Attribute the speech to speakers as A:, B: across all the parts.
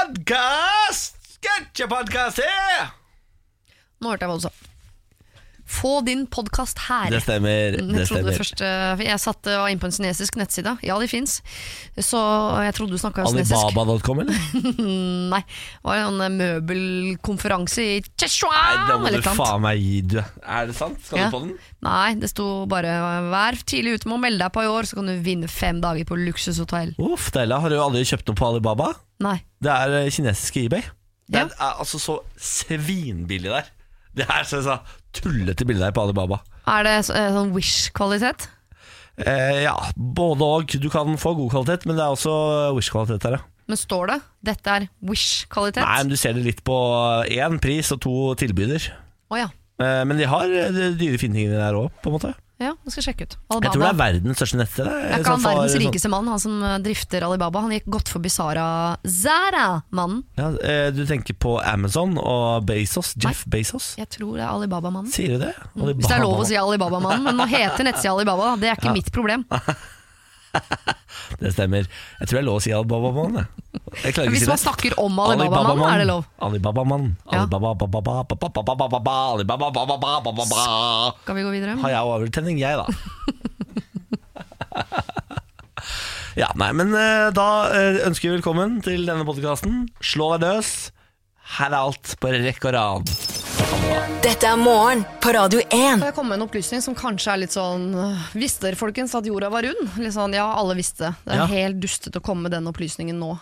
A: Podkast! Sketsjepodkast her!
B: Nå hørte jeg hva du sa. Få din podkast her.
A: Det stemmer. Det
B: Jeg trodde
A: stemmer.
B: først eh, for Jeg satt eh, var inne på en kinesisk nettside. Ja, de fins. Så sånn jeg trodde du snakka kinesisk.
A: Alibaba.com, eller?
B: Nei. Det var en eh, møbelkonferanse i
A: Nei,
B: Cheshuan
A: da må
B: eller
A: du
B: et eller annet.
A: faen meg gi, du. Er det sant? Skal
B: Ja.
A: du på den?
B: Nei, det sto bare eh, 'vær tidlig ute med å melde deg på i år, så kan du vinne fem dager på luksushotell'.
A: Uff, deilig. Har du aldri kjøpt noe på Alibaba?
B: Nei.
A: Det er eh, kinesiske eBay. Det
B: Ja.
A: er, er altså så svinbillig der. Det er så, så tullete bilder der på Alibaba.
B: Er det så- eh, sånn wish-kvalitet?
A: Eh, ja, både og. Du kan få god kvalitet, men det er også eh, Wish-kvalitet der, ja.
B: Men står det 'dette er wish-kvalitet'?
A: Nei, men du ser det litt på eh, én pris og to tilbyder.
B: Å ja.
A: Eh, men de har eh, de dyre fine tingene der òg, på en måte.
B: ja. Det skal jeg sjekke ut.
A: Jeg tror det
B: Alibaba.
A: er verdens største nettsted. det.
B: Det er ikke
A: Sånn
B: han
A: for-
B: verdens
A: sånn-
B: rikeste mann, han som eh, drifter Alibaba. Han gikk godt forbi Sara Zara-mannen.
A: Ja, eh, du tenker på Amazon og Bezos. Jeff Bezos.
B: Jeg tror det er Alibaba-mannen.
A: Sier du det?
B: Hvis det er lov å si Alibaba-mannen, men nå heter nettsida Alibaba, da. det er ikke mitt problem.
A: Det stemmer. Jeg tror det er lov å si Alibaba-mann. Jeg klarer ikke
B: Hvis
A: å
B: man
A: si det.
B: snakker om Alibaba-mannen, er det lov.
A: Alibaba-mann.
B: Ja.
A: Alibaba-ba-ba-ba-ba-ba-ba-ba-ba-ba-ba-ba-ba-ba.
B: Skal vi gå videre?
A: Har jeg overtenning, jeg, da. ja, nei, men eh, da eh, ønsker vi velkommen til denne podkasten. Slå deg løs. Her er alt på rekke og rad.
C: Dette er morgen på Radio 1.
B: Kan jeg komme med en opplysning som kanskje er litt sånn øh, Visste dere folkens at jorda var rund? Litt sånn, ja, alle visste det. Det er
A: Ja.
B: helt dustete å komme med den opplysningen nå.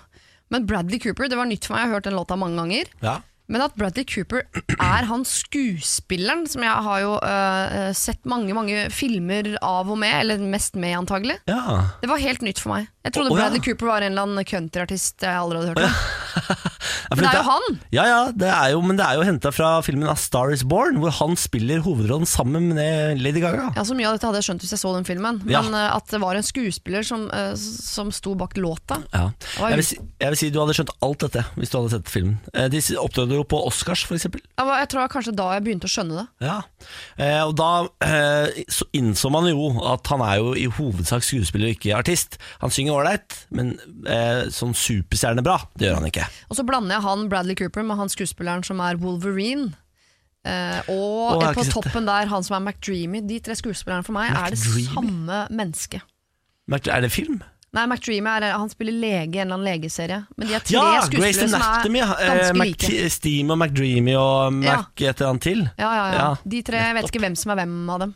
B: Men Bradley Cooper, det var nytt for meg, jeg har hørt den låta mange ganger.
A: Ja.
B: Men at Bradley Cooper er han skuespilleren som jeg har jo øh, øh, sett mange mange filmer av og med, eller mest med antagelig.
A: ja.
B: Det var helt nytt for meg. Jeg trodde
A: Å, å, ja.
B: Bradley Cooper var en eller annen countryartist eh, jeg aldri hadde hørt om.
A: for
B: det er jo han.
A: Ja, ja, det er jo, men det er jo henta fra filmen A Star Is Born, hvor han spiller hovedrollen sammen med Lady Gaga.
B: Ja, så Mye av dette hadde jeg skjønt hvis jeg så den filmen,
A: Ja.
B: men øh, at det var en skuespiller som, øh, som sto bak låta.
A: Ja.
B: Oi.
A: Jeg, vil si, jeg vil si du hadde skjønt alt dette hvis du hadde sett filmen. Eh, De opptrådte jo på Oscars, for eksempel.
B: Ja, hva- Jeg tror det var kanskje da jeg begynte å skjønne det.
A: Ja, eh, og da eh, så innså man jo at han er jo i hovedsak skuespiller og ikke artist. Han synger ålreit, men eh, sånn superstjernebra, det gjør han ikke.
B: Og så blander jeg han Bradley Cooper med han skuespilleren som er Wolverine. Eh,
A: Å,
B: og
A: jeg har
B: på
A: ikke sett det.
B: toppen der han som er McDreamy. De tre skuespillerne for meg er det
A: McDreamy?
B: samme mennesket.
A: Men er det film?
B: Nei, McDreamy er, han spiller lege i en eller annen legeserie. Men de er tre
A: Ja, Grace
B: skuespillere som er
A: Anatomy. Eh,
B: ganske
A: Mac
B: like.
A: Steam og McDreamy og
B: Ja.
A: Mac et eller annet til.
B: Ja, ja, ja.
A: Ja,
B: De tre, jeg vet ikke hvem som er hvem av dem.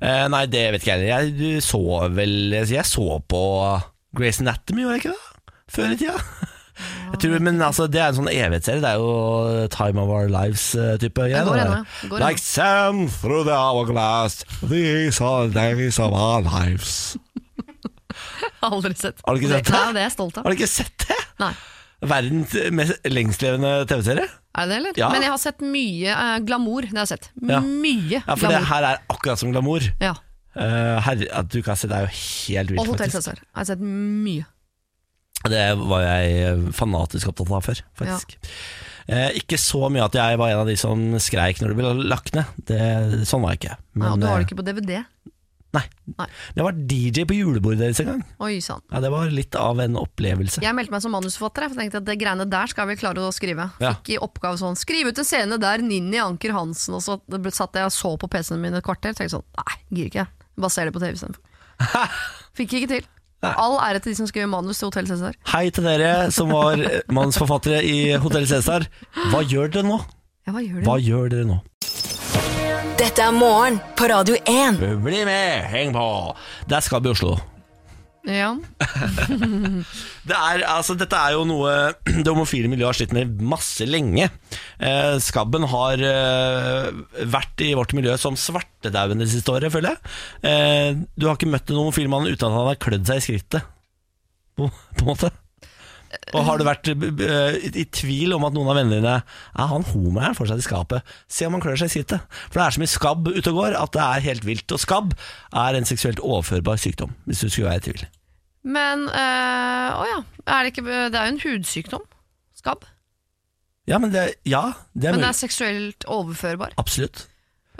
A: Eh, nei, det vet ikke jeg heller. Jeg du så vel Jeg så på Grace Anatomy, gjorde jeg ikke det? Før i tida. Jeg tror, men altså, det er en sånn evighetsserie. Det er jo Time of Our eh, Lives-type.
B: Den går ennå, ja. Den går
A: Like sand through the hourglass, these are days of our lives.
B: Aldri sett.
A: Har du ikke sett det?
B: Nei, det er jeg stolt av.
A: Har du ikke sett det?
B: Nei.
A: Verdens mest lengstlevende TV-serie.
B: Er det det, eller?
A: Ja.
B: Men jeg har sett mye eh, glamour. Det har jeg sett.
A: Ja.
B: Mye
A: Ja, for det
B: glamour.
A: her er akkurat som glamour.
B: Ja.
A: Eh, herre, at du kan se, det er jo helt
B: Og
A: vilt,
B: Hotell
A: faktisk.
B: Cæsar. Jeg har sett mye.
A: Det var jeg eh, fanatisk opptatt av før, faktisk. Eh, ikke så mye at jeg var en av de som skreik når det ble lagt ned. Det, sånn var jeg ikke.
B: ja, og du har
A: eh,
B: det ikke på DVD.
A: Nei.
B: Nei.
A: Jeg var DJ på julebordet deres en gang.
B: Oi sann.
A: Ja, det var litt av en opplevelse.
B: Jeg meldte meg som manusforfatter, jeg, for jeg tenkte at det greiene der skal jeg vel klare å skrive.
A: Ja.
B: Fikk i oppgave sånn, skriv ut en scene der Ninni Anker Hansen, og så ble- satt jeg og så på PC-en min et kvarter, tenkte sånn, nei, gir ikke, bare ser det på TV istedenfor. Fikk ikke til. All ære til de som skriver manus til Hotell Cæsar.
A: Hei til dere som var eh, manusforfattere i Hotell Cæsar. Hva gjør dere nå?
B: Ja, hva gjør de?
A: Hva gjør dere nå?
C: Dette er morgen på Radio 1.
A: Bli med, heng på! Der skal vi i Oslo.
B: Ja.
A: Det er, altså, dette er jo noe det homofile miljøet har slitt med masse lenge. Eh, skabben har eh, vært i vårt miljø som svartedauden det siste året, føler jeg. Eh, du har ikke møtt en homofil mann uten at han har klødd seg i skrittet, på, på en måte. Og har du vært eh, i, i tvil om at noen av vennene dine Er han homoeren fortsatt i skapet? Se om han klør seg i skrittet. For det er så mye skabb ute og går at det er helt vilt. Og skabb er en seksuelt overførbar sykdom, hvis du skulle være i tvil.
B: Men, eh, å ja, er det, ikke, det er jo en hudsykdom, skabb,
A: Ja, men det, ja, det er
B: men
A: mulig.
B: den er seksuelt overførbar.
A: Absolutt.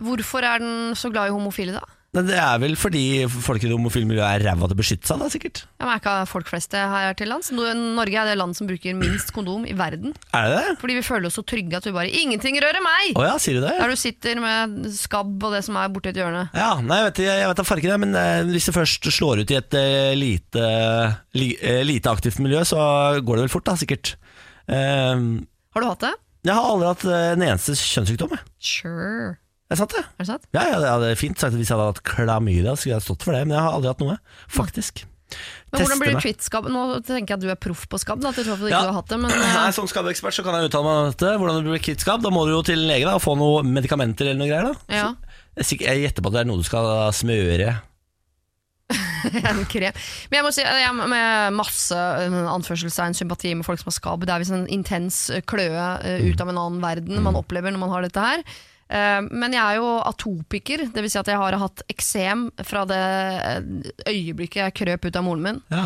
B: Hvorfor er den så glad i homofile da?
A: Men Det er vel fordi folk i det homofile miljøet er ræva til å beskytte seg, da, sikkert.
B: Ja, men er ikke folk flest det her til lands? No- Norge er det land som bruker minst kondom i verden.
A: Er det det?
B: Fordi vi føler oss så trygge at vi bare Ingenting rører meg!
A: Å ja, sier du det?
B: Der du sitter med skabb og det som er borti et hjørne.
A: Ja, nei, jeg vet, jeg, jeg vet da farken, jeg, men eh, hvis det først slår ut i et eh, lite, li, eh, lite aktivt miljø, så går det vel fort, da, sikkert. Eh,
B: Har du hatt det?
A: jeg har aldri hatt eh, en eneste kjønnssykdom, jeg.
B: Sure.
A: Det er sant, det.
B: Er det sant?
A: Ja, ja, det hadde jeg fint sagt at hvis jeg hadde hatt klamydia, så skulle jeg stått for det, men jeg har aldri hatt noe, faktisk.
B: Men hvordan
A: Teste
B: blir det
A: meg.
B: kvitt skabb? Nå tenker jeg at du er proff på skabb, da, til tross for at du
A: Ja.
B: ikke har hatt det. Men
A: Nei,
B: eh,
A: Som skabbeekspert så kan jeg uttale meg om dette. Hvordan du blir kvitt skabb. Da må du jo til en lege da, og få noen medikamenter eller noe greier. da
B: ja,
A: Jeg er sikker- Jeg gjetter på at det er noe du skal smøre.
B: en krem. Men jeg må si, jeg har med masse eh, anførselstegn sympati med folk som har skabb. Det er visst en intens eh, kløe eh,
A: Mm.
B: ut av en annen verden man opplever når man har dette her. Eh, Men jeg er jo atopiker, dvs. Si at jeg har hatt eksem fra det eh, øyeblikket jeg krøp ut av moren min.
A: Ja.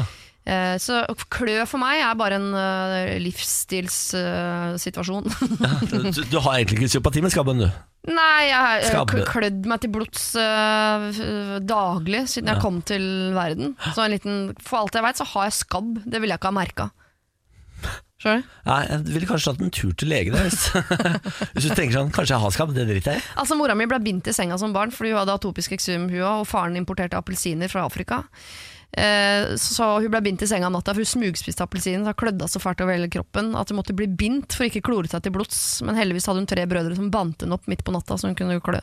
B: Eh, Så klø for meg er bare en eh, livsstilssituasjon.
A: Du, du- du har egentlig ikke sympati med skabben, du.
B: Nei, jeg har eh,
A: Skabb.
B: kl- klødd meg til blods eh, f- daglig siden jeg kom til verden. Så en liten, For alt jeg veit, så har jeg skabb. Det ville jeg ikke ha merka. Skjønner du?
A: Nei, Jeg ville kanskje tatt en tur til lege. da, Hvis, hvis du tenker sånn Kanskje jeg har skabb, det driter jeg i.
B: Altså, Mora mi ble bindt i senga som barn fordi hun hadde atopisk eksem, hun også, og faren importerte appelsiner fra Afrika. Eh, så, så hun ble bindt i senga om natta, for hun smugspiste appelsinen. Så klødde hun så fælt over hele kroppen at hun måtte bli bindt for ikke å klore seg til blods. Men heldigvis hadde hun tre brødre som bandt henne opp midt på natta, så hun kunne klø.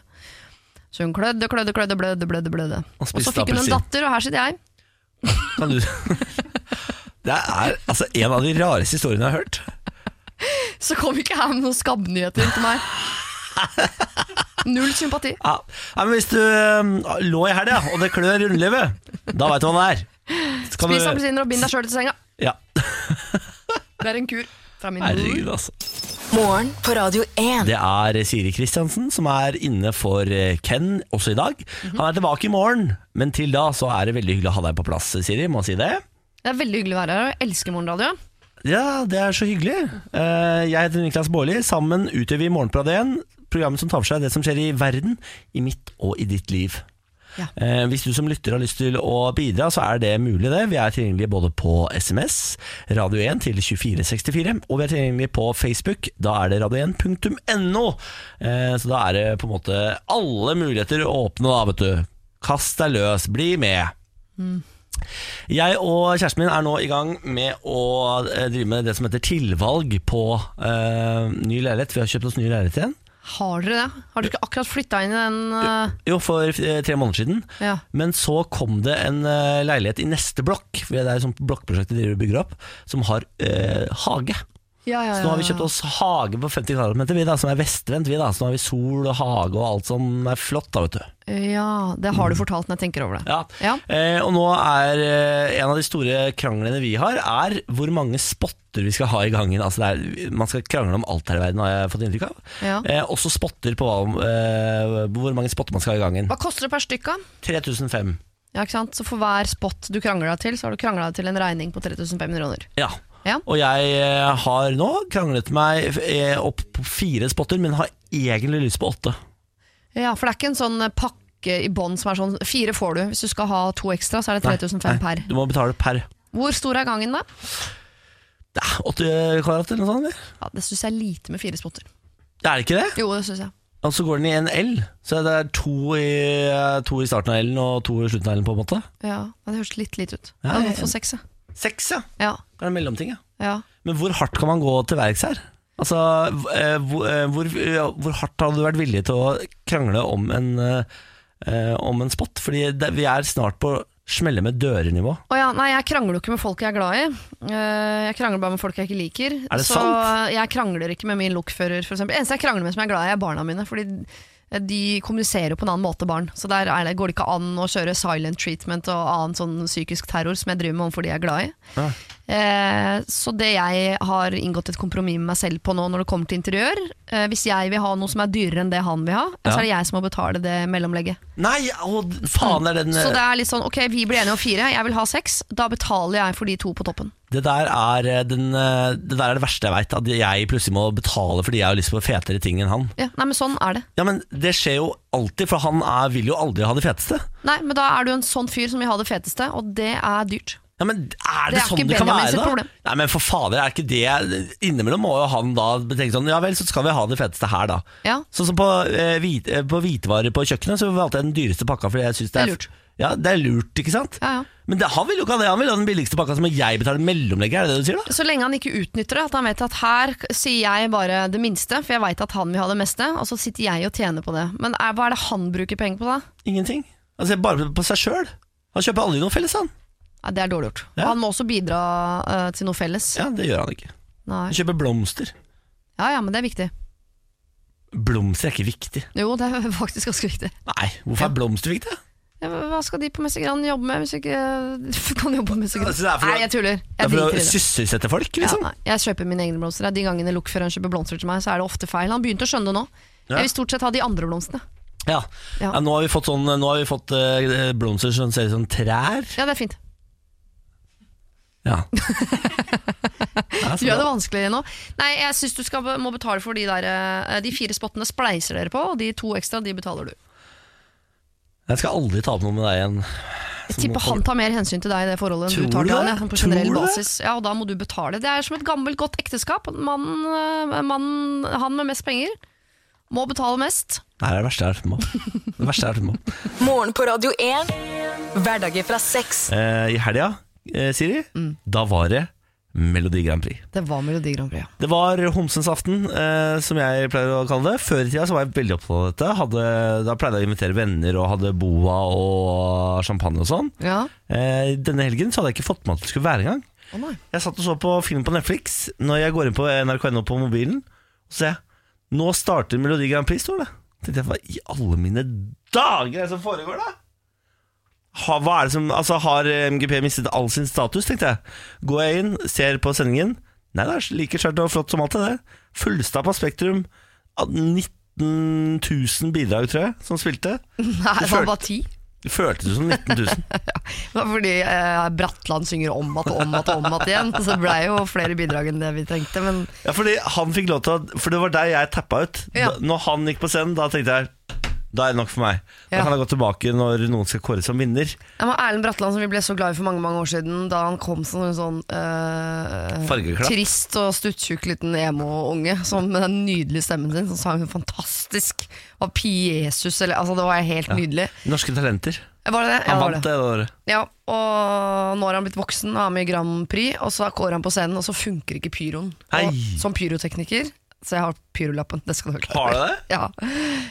B: Så hun klødde, klødde, klødde, blødde, blødde. blødde.
A: Og
B: Og så
A: spiste
B: fikk hun en
A: appelsin.
B: datter, og her sitter jeg.
A: Kan du Det er altså en av de rareste historiene jeg har hørt.
B: Så kom ikke her med noen skabbnyheter til meg. Null sympati.
A: Ja. Nei, men Hvis du øhm, lå i helga, og det klør rundlivet, da veit du hva det er. Så kan
B: Spis
A: du-
B: appelsiner og bind deg sjøl til senga.
A: Ja.
B: Det er en kur. Fra min mor.
A: Herregud, altså.
C: Morgen på Radio 1.
A: Det er Siri Kristiansen som er inne for eh, Ken også i dag. Han er tilbake i morgen, men til da så er det veldig hyggelig å ha deg på plass, Siri. Må si det.
B: Det er veldig hyggelig å være her. og Jeg elsker morgenradio.
A: Ja, det er så hyggelig. Eh, Jeg heter Niklas Baarli. Sammen utøver vi Morgenprat 1, programmet som tar for seg det som skjer i verden, i mitt og i ditt liv.
B: Ja.
A: Eh, Hvis du som lytter har lyst til å bidra, så er det mulig det. Vi er tilgjengelige både på SMS, Radio 1 til 2464, og vi er tilgjengelige på Facebook. Da er det radio1.no. Eh, Så da er det på en måte alle muligheter åpne, da, vet du. Kast deg løs, bli med. Jeg og kjæresten min er nå i gang med å eh, drive med det som heter tilvalg på eh, ny leilighet. Vi har kjøpt oss ny leilighet igjen.
B: Har dere det? Har dere ikke akkurat flytta inn i den eh,
A: Jo, for eh, tre måneder siden.
B: Ja.
A: Men så kom det en eh, leilighet i neste blokk, for det er jo sånt blokkprosjekt de driver og bygger opp, som har eh, hage.
B: Ja, ja,
A: Så nå har vi kjøpt oss hage på 50 kvadratmeter, vi da, som er vestvendt. vi da. Så nå har vi sol og hage og alt som er flott, da, vet du.
B: Ja, det har du fortalt når jeg tenker over det.
A: Ja.
B: Ja.
A: Eh, og nå er eh, en av de store kranglene vi har, er hvor mange spotter vi skal ha i gangen. Altså det er, man skal krangle om alt her i verden, har jeg fått inntrykk av.
B: Ja.
A: Eh, også spotter på hva, eh, hvor mange spotter man skal ha i gangen.
B: Hva koster det per stykk? da?
A: 3005.
B: Ja, ikke sant? Så for hver spot du krangler deg til, så har du krangla deg til en regning på 3500 kroner.
A: Ja.
B: Ja.
A: Og jeg eh, har nå kranglet meg eh, opp på fire spotter, men har egentlig lyst på åtte.
B: Ja, for det er ikke en sånn eh, pakke i bånn som er sånn Fire får du. Hvis du skal ha to ekstra, så er det 3500 per.
A: Du må betale per
B: Hvor stor er gangen, da?
A: det er 80 eh, kvadrat eller noe sånt? Eller?
B: Ja, det syns jeg er lite med fire spotter.
A: Det er det ikke det?
B: Jo, det syns jeg.
A: Og så går den i en L. Så det er to i, eh, to i starten av L-en og to i slutten av L-en, på en måte.
B: Ja, men Det høres litt lite ut.
A: Ja,
B: Jeg hadde
A: jeg-
B: gått for seks, jeg.
A: Seks, ja.
B: Ja,
A: Det er en mellomting, ja.
B: ja.
A: Men hvor hardt kan man gå til verks her? Altså, eh, hvor, eh, hvor, eh, hvor hardt hadde du vært villig til å krangle om en, eh, eh, om en spot? Fordi det, vi er snart på smelle med dører-nivå.
B: Å ja, nei, jeg krangler jo ikke med folk jeg er glad i. Eh, Jeg krangler bare med folk jeg ikke liker.
A: Er det
B: så
A: sant?
B: jeg krangler ikke med min lokfører, f.eks. Det eneste jeg krangler med som jeg er glad i, er barna mine. Fordi de kommuniserer jo på en annen måte, barn. Så der er det, går det ikke an å kjøre silent treatment og annen sånn psykisk terror som jeg driver med overfor de jeg er glad i. Eh, så det jeg har inngått et kompromiss med meg selv på nå når det kommer til interiør eh, Hvis jeg vil ha noe som er dyrere enn det han vil ha,
A: Ja.
B: så er det jeg som må betale det mellomlegget.
A: Nei, å, d- faen er den
B: Så det
A: det,
B: er litt sånn ok, vi blir enige om fire, jeg vil ha seks. Da betaler jeg for de to på toppen.
A: der er eh, den, eh, Det der er det verste jeg veit. At jeg plutselig må betale fordi jeg har lyst på fetere ting enn han.
B: Ja, nei, men sånn er det.
A: Ja, men Det skjer jo alltid, for han er, vil jo aldri ha det feteste.
B: Nei, men da er du en sånn fyr som vil ha det feteste, og det er dyrt.
A: Ja, men Er det,
B: Det er
A: sånn
B: ikke
A: det kan
B: Benjamin
A: være,
B: sitt
A: da?
B: problem.
A: Nei, men for fader, er ikke det Innimellom må jo han da tenke sånn Ja vel, så skal vi ha det feteste her, da.
B: Ja.
A: Sånn som på, eh, hvit, eh, på hvitevarer på kjøkkenet, så valgte jeg den dyreste pakka fordi jeg syns det,
B: Det er lurt.
A: Ja, det er lurt, ikke sant?
B: Ja, ja.
A: Men det, han vil jo ikke ha det, han vil ha den billigste pakka, så må jeg betale mellomlegget, er det det du sier da?
B: Så lenge han ikke utnytter det, at han vet at her sier jeg bare det minste, for jeg veit at han vil ha det meste, og så sitter jeg og tjener på det. Men er, hva er det han bruker penger på, da?
A: Ingenting. Altså, bare på seg sjøl. Han kjøper aldri noe felles, han.
B: Ja, det er dårlig gjort.
A: Ja.
B: Og han må også bidra eh, til noe felles. Ja.
A: Ja, det gjør han ikke. Han
B: Nei.
A: kjøper blomster.
B: ja ja, men det er viktig.
A: Blomster er ikke viktig.
B: Jo, det er faktisk ganske viktig.
A: Nei, hvorfor er blomster viktig? da?
B: Ja, men Hva skal de på Messegran jobbe med hvis ikke de kan jobbe på Messegran?
A: Altså, det er for å-
B: Nei, jeg tuller.
A: Det
B: Jeg
A: er for
B: driter
A: å
B: i det.
A: sysselsette folk,
B: Ja,
A: liksom.
B: nei, jeg kjøper mine egne blomster. De gangene lokføreren kjøper blomster til meg, så er det ofte feil. Han begynte å skjønne det nå.
A: Ja.
B: Jeg vil stort sett ha de andre blomstene.
A: Ja.
B: Ja.
A: Ja, nå har vi fått, sånn, nå har vi fått eh, blomster som ser ut som trær.
B: Ja, det er fint.
A: Ja. Ja, så
B: Gjør jeg det
A: bra.
B: vanskelig nå? Nei, jeg syns du skal, må betale for de der eh, De fire spottene spleiser dere på, og de to ekstra, de betaler du.
A: Jeg skal aldri ta opp noe med deg igjen.
B: Jeg tipper han tar mer hensyn til deg i det forholdet enn
A: Tror
B: du tar
A: du
B: til han.
A: det?
B: ja, Sånn på
A: Tror
B: generell
A: du det?
B: basis. Ja, og da må du betale. Det er som et gammelt, godt ekteskap. Mannen, eh, mannen, han med mest penger, må betale mest.
A: Nei, det er det verste jeg har hørt om. Det verste jeg har hørt om.
C: Morgen på Radio 1. Hverdager fra seks.
A: Eh, I helga, eh, Siri,
B: Mm.
A: da var det Melodi Grand Prix.
B: Det var Melodi Grand Prix, ja.
A: Det var homsens aften, eh, som jeg pleier å kalle det. Før i tida så var jeg veldig opptatt av dette. Hadde, da pleide jeg å invitere venner og hadde boa og champagne og sånn.
B: Ja,
A: Eh, denne helgen så hadde jeg ikke fått med meg at det skulle være engang.
B: å nei.
A: Jeg satt og så på film på Netflix Når jeg går inn på NRK.no på mobilen Og ser jeg Nå starter Melodi Grand Prix står det Tenkte jeg, hva i alle mine dager er det som foregår da? Ha, hva er det som, altså har MGP mistet all sin status, tenkte jeg Går jeg inn, ser på sendingen Nei, det er like skjørt og flott som alt det der Fullstappet Spektrum av 19 000 bidrag, tror jeg, som spilte
B: Nei, det
A: følte-
B: var bare ti.
A: Det føltes som 19 000
B: Det var fordi eh, Bratland synger om at og om at og om at igjen. Så det ble jo flere bidrag enn det vi trengte. Men
A: Ja, fordi han fikk lov til å For det var der jeg tappa ut.
B: Ja.
A: Da, når han gikk på scenen, da tenkte jeg da er det nok for meg. Da
B: Ja.
A: kan jeg gå tilbake når noen skal kåre som vinner.
B: det var Erlend Bratland som vi ble så glad i for mange mange år siden, da han kom som en sånn eh,
A: Fargeklatt.
B: trist og stuttjukk liten emo-unge som med den nydelige stemmen sin, som sang fantastisk. Var Piesus, eller Altså, det var helt nydelig.
A: Norske talenter.
B: Var det det? Ja,
A: Han
B: det var
A: vant
B: det.
A: det det året.
B: Ja, og nå har han blitt voksen og er med i Grand Prix, og så går han på scenen, og så funker ikke pyroen.
A: Hei.
B: Og, som pyrotekniker, så jeg har pyrolappen, det skal du klare.
A: Har du det?
B: Ja.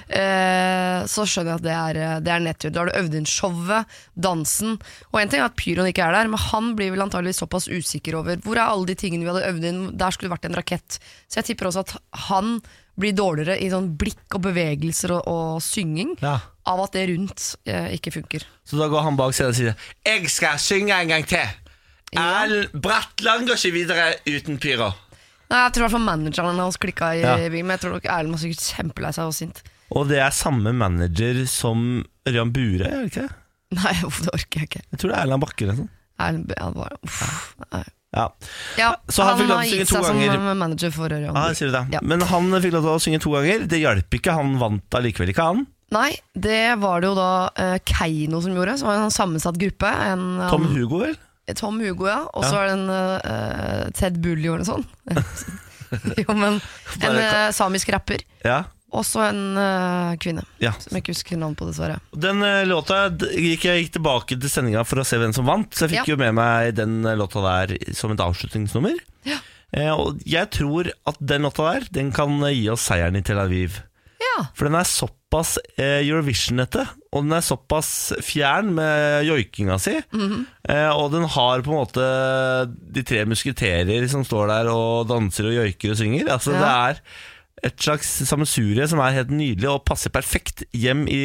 B: Eh, så skjønner jeg at det er, eh, det er nettur. Da har du øvd inn showet, dansen. Og en ting er at pyroen ikke er der, men han blir vel antageligvis såpass usikker over hvor er alle de tingene vi hadde øvd inn, der skulle det vært en rakett. Så jeg tipper også at han blir dårligere i sånn blikk og bevegelser og, og synging
A: Ja.
B: av at det rundt eh, ikke funker.
A: Så da går han bak scenen og sier 'Jeg skal synge en gang til'.
B: Ja.
A: Erlend Bratland går ikke videre uten pyro.
B: Nei, jeg tror i hvert fall manageren hans klikka i
A: Ja.
B: bilen, men jeg tror nok Erlend var sikkert kjempelei seg og sint.
A: Og det er samme manager som Ørjan Bure, er det ikke det?
B: Nei, uff, det orker jeg ikke.
A: Jeg tror det er Erland Bakke. eller noe sånt.
B: Erlend han var uff, nei.
A: Ja.
B: Ja,
A: Så han fikk lov
B: har
A: til å synge
B: gitt
A: to
B: seg som
A: ganger.
B: manager for Ørjan.
A: Ah, sier du det.
B: Ja.
A: Men han fikk lov til å synge to ganger. Det hjalp ikke, han vant allikevel ikke, han.
B: Nei, det var det jo da eh, Keiino som gjorde, som var en sammensatt gruppe. En, eh,
A: Tom Hugo, vel?
B: Tom Hugo, ja. Og så
A: Ja.
B: var det en eh, Ted Bully eller noe sånt. jo, men en eh, samisk rapper.
A: Ja.
B: Og så en eh, kvinne,
A: Ja.
B: som jeg ikke husker navnet på, dessverre.
A: Den eh, låta d- gikk jeg gikk tilbake til sendinga for å se hvem som vant, så jeg fikk
B: Ja.
A: jo med meg den eh, låta der som et avslutningsnummer.
B: Ja.
A: Eh, og jeg tror at den låta der Den kan eh, gi oss seieren i Tel Aviv.
B: Ja,
A: For den er såpass eh, Eurovision-ete, og den er såpass fjern med joikinga si.
B: Mhm.
A: eh, og den har på en måte de tre musketerer som står der og danser og joiker og synger. Altså
B: Ja.
A: Det er et slags sammensurie som er helt nydelig og passer perfekt hjem i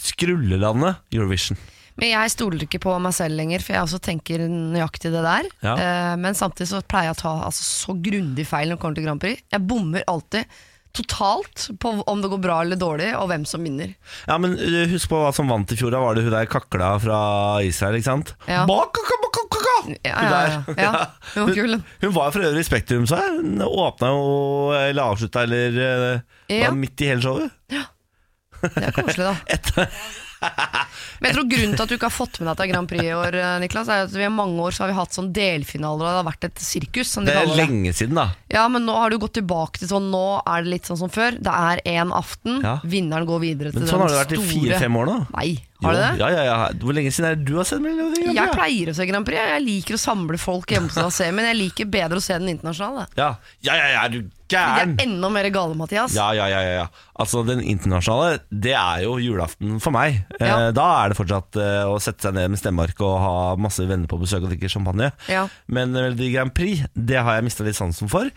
A: skrullelandet Eurovision.
B: Men jeg stoler ikke på meg selv lenger, for jeg også tenker nøyaktig det der.
A: Ja.
B: Eh, men samtidig så pleier jeg å ta altså, så grundig feil når det kommer til Grand Prix. Jeg bommer alltid totalt på om det går bra eller dårlig, og hvem som vinner.
A: Ja, men uh, husk på hva som vant i fjor. Da var det hun der kakla fra Israel, ikke sant?
B: Ja.
A: Bakakabakakaka!
B: Ja,
A: Hun
B: ja,
A: der.
B: ja. ja. Det var kul.
A: Hun, hun var jo for øvrig i Spektrum, så jeg. Hun åpna jo eller avslutta eller eh,
B: Ja.
A: var midt i hele showet.
B: Det er koselig, da. Men jeg tror grunnen til at du ikke har fått med deg at det er Grand Prix i år, eh, Niklas, er at vi i mange år så har vi hatt sånn delfinaler, og det har vært et sirkus. Som de
A: Det er
B: kaller det.
A: lenge siden, da.
B: Ja, men nå har du gått tilbake til sånn Nå er det litt sånn som før. Det er én aften,
A: Ja.
B: vinneren går videre til
A: Men sånn har
B: den
A: det vært i
B: store
A: fire-fem år nå.
B: Nei, har det det?
A: Jo, Ja, ja, ja. Hvor lenge siden er det du har sett Melodi Grand Prix?
B: Jeg
A: da?
B: pleier å se Grand Prix. Jeg liker å samle folk hjemme hos meg og se, men jeg liker bedre å se den internasjonale.
A: Ja, ja, ja, ja, er du
B: De
A: gæren?
B: er enda mer gale, Mathias.
A: Ja, ja, ja, ja, ja. Altså, den internasjonale, det er jo julaften for meg. Eh,
B: Ja.
A: da er det fortsatt eh, å sette seg ned med stemmeark og ha masse venner på besøk og drikke champagne.
B: Ja.
A: Men Melodi Grand Prix, det har jeg mista litt sansen for.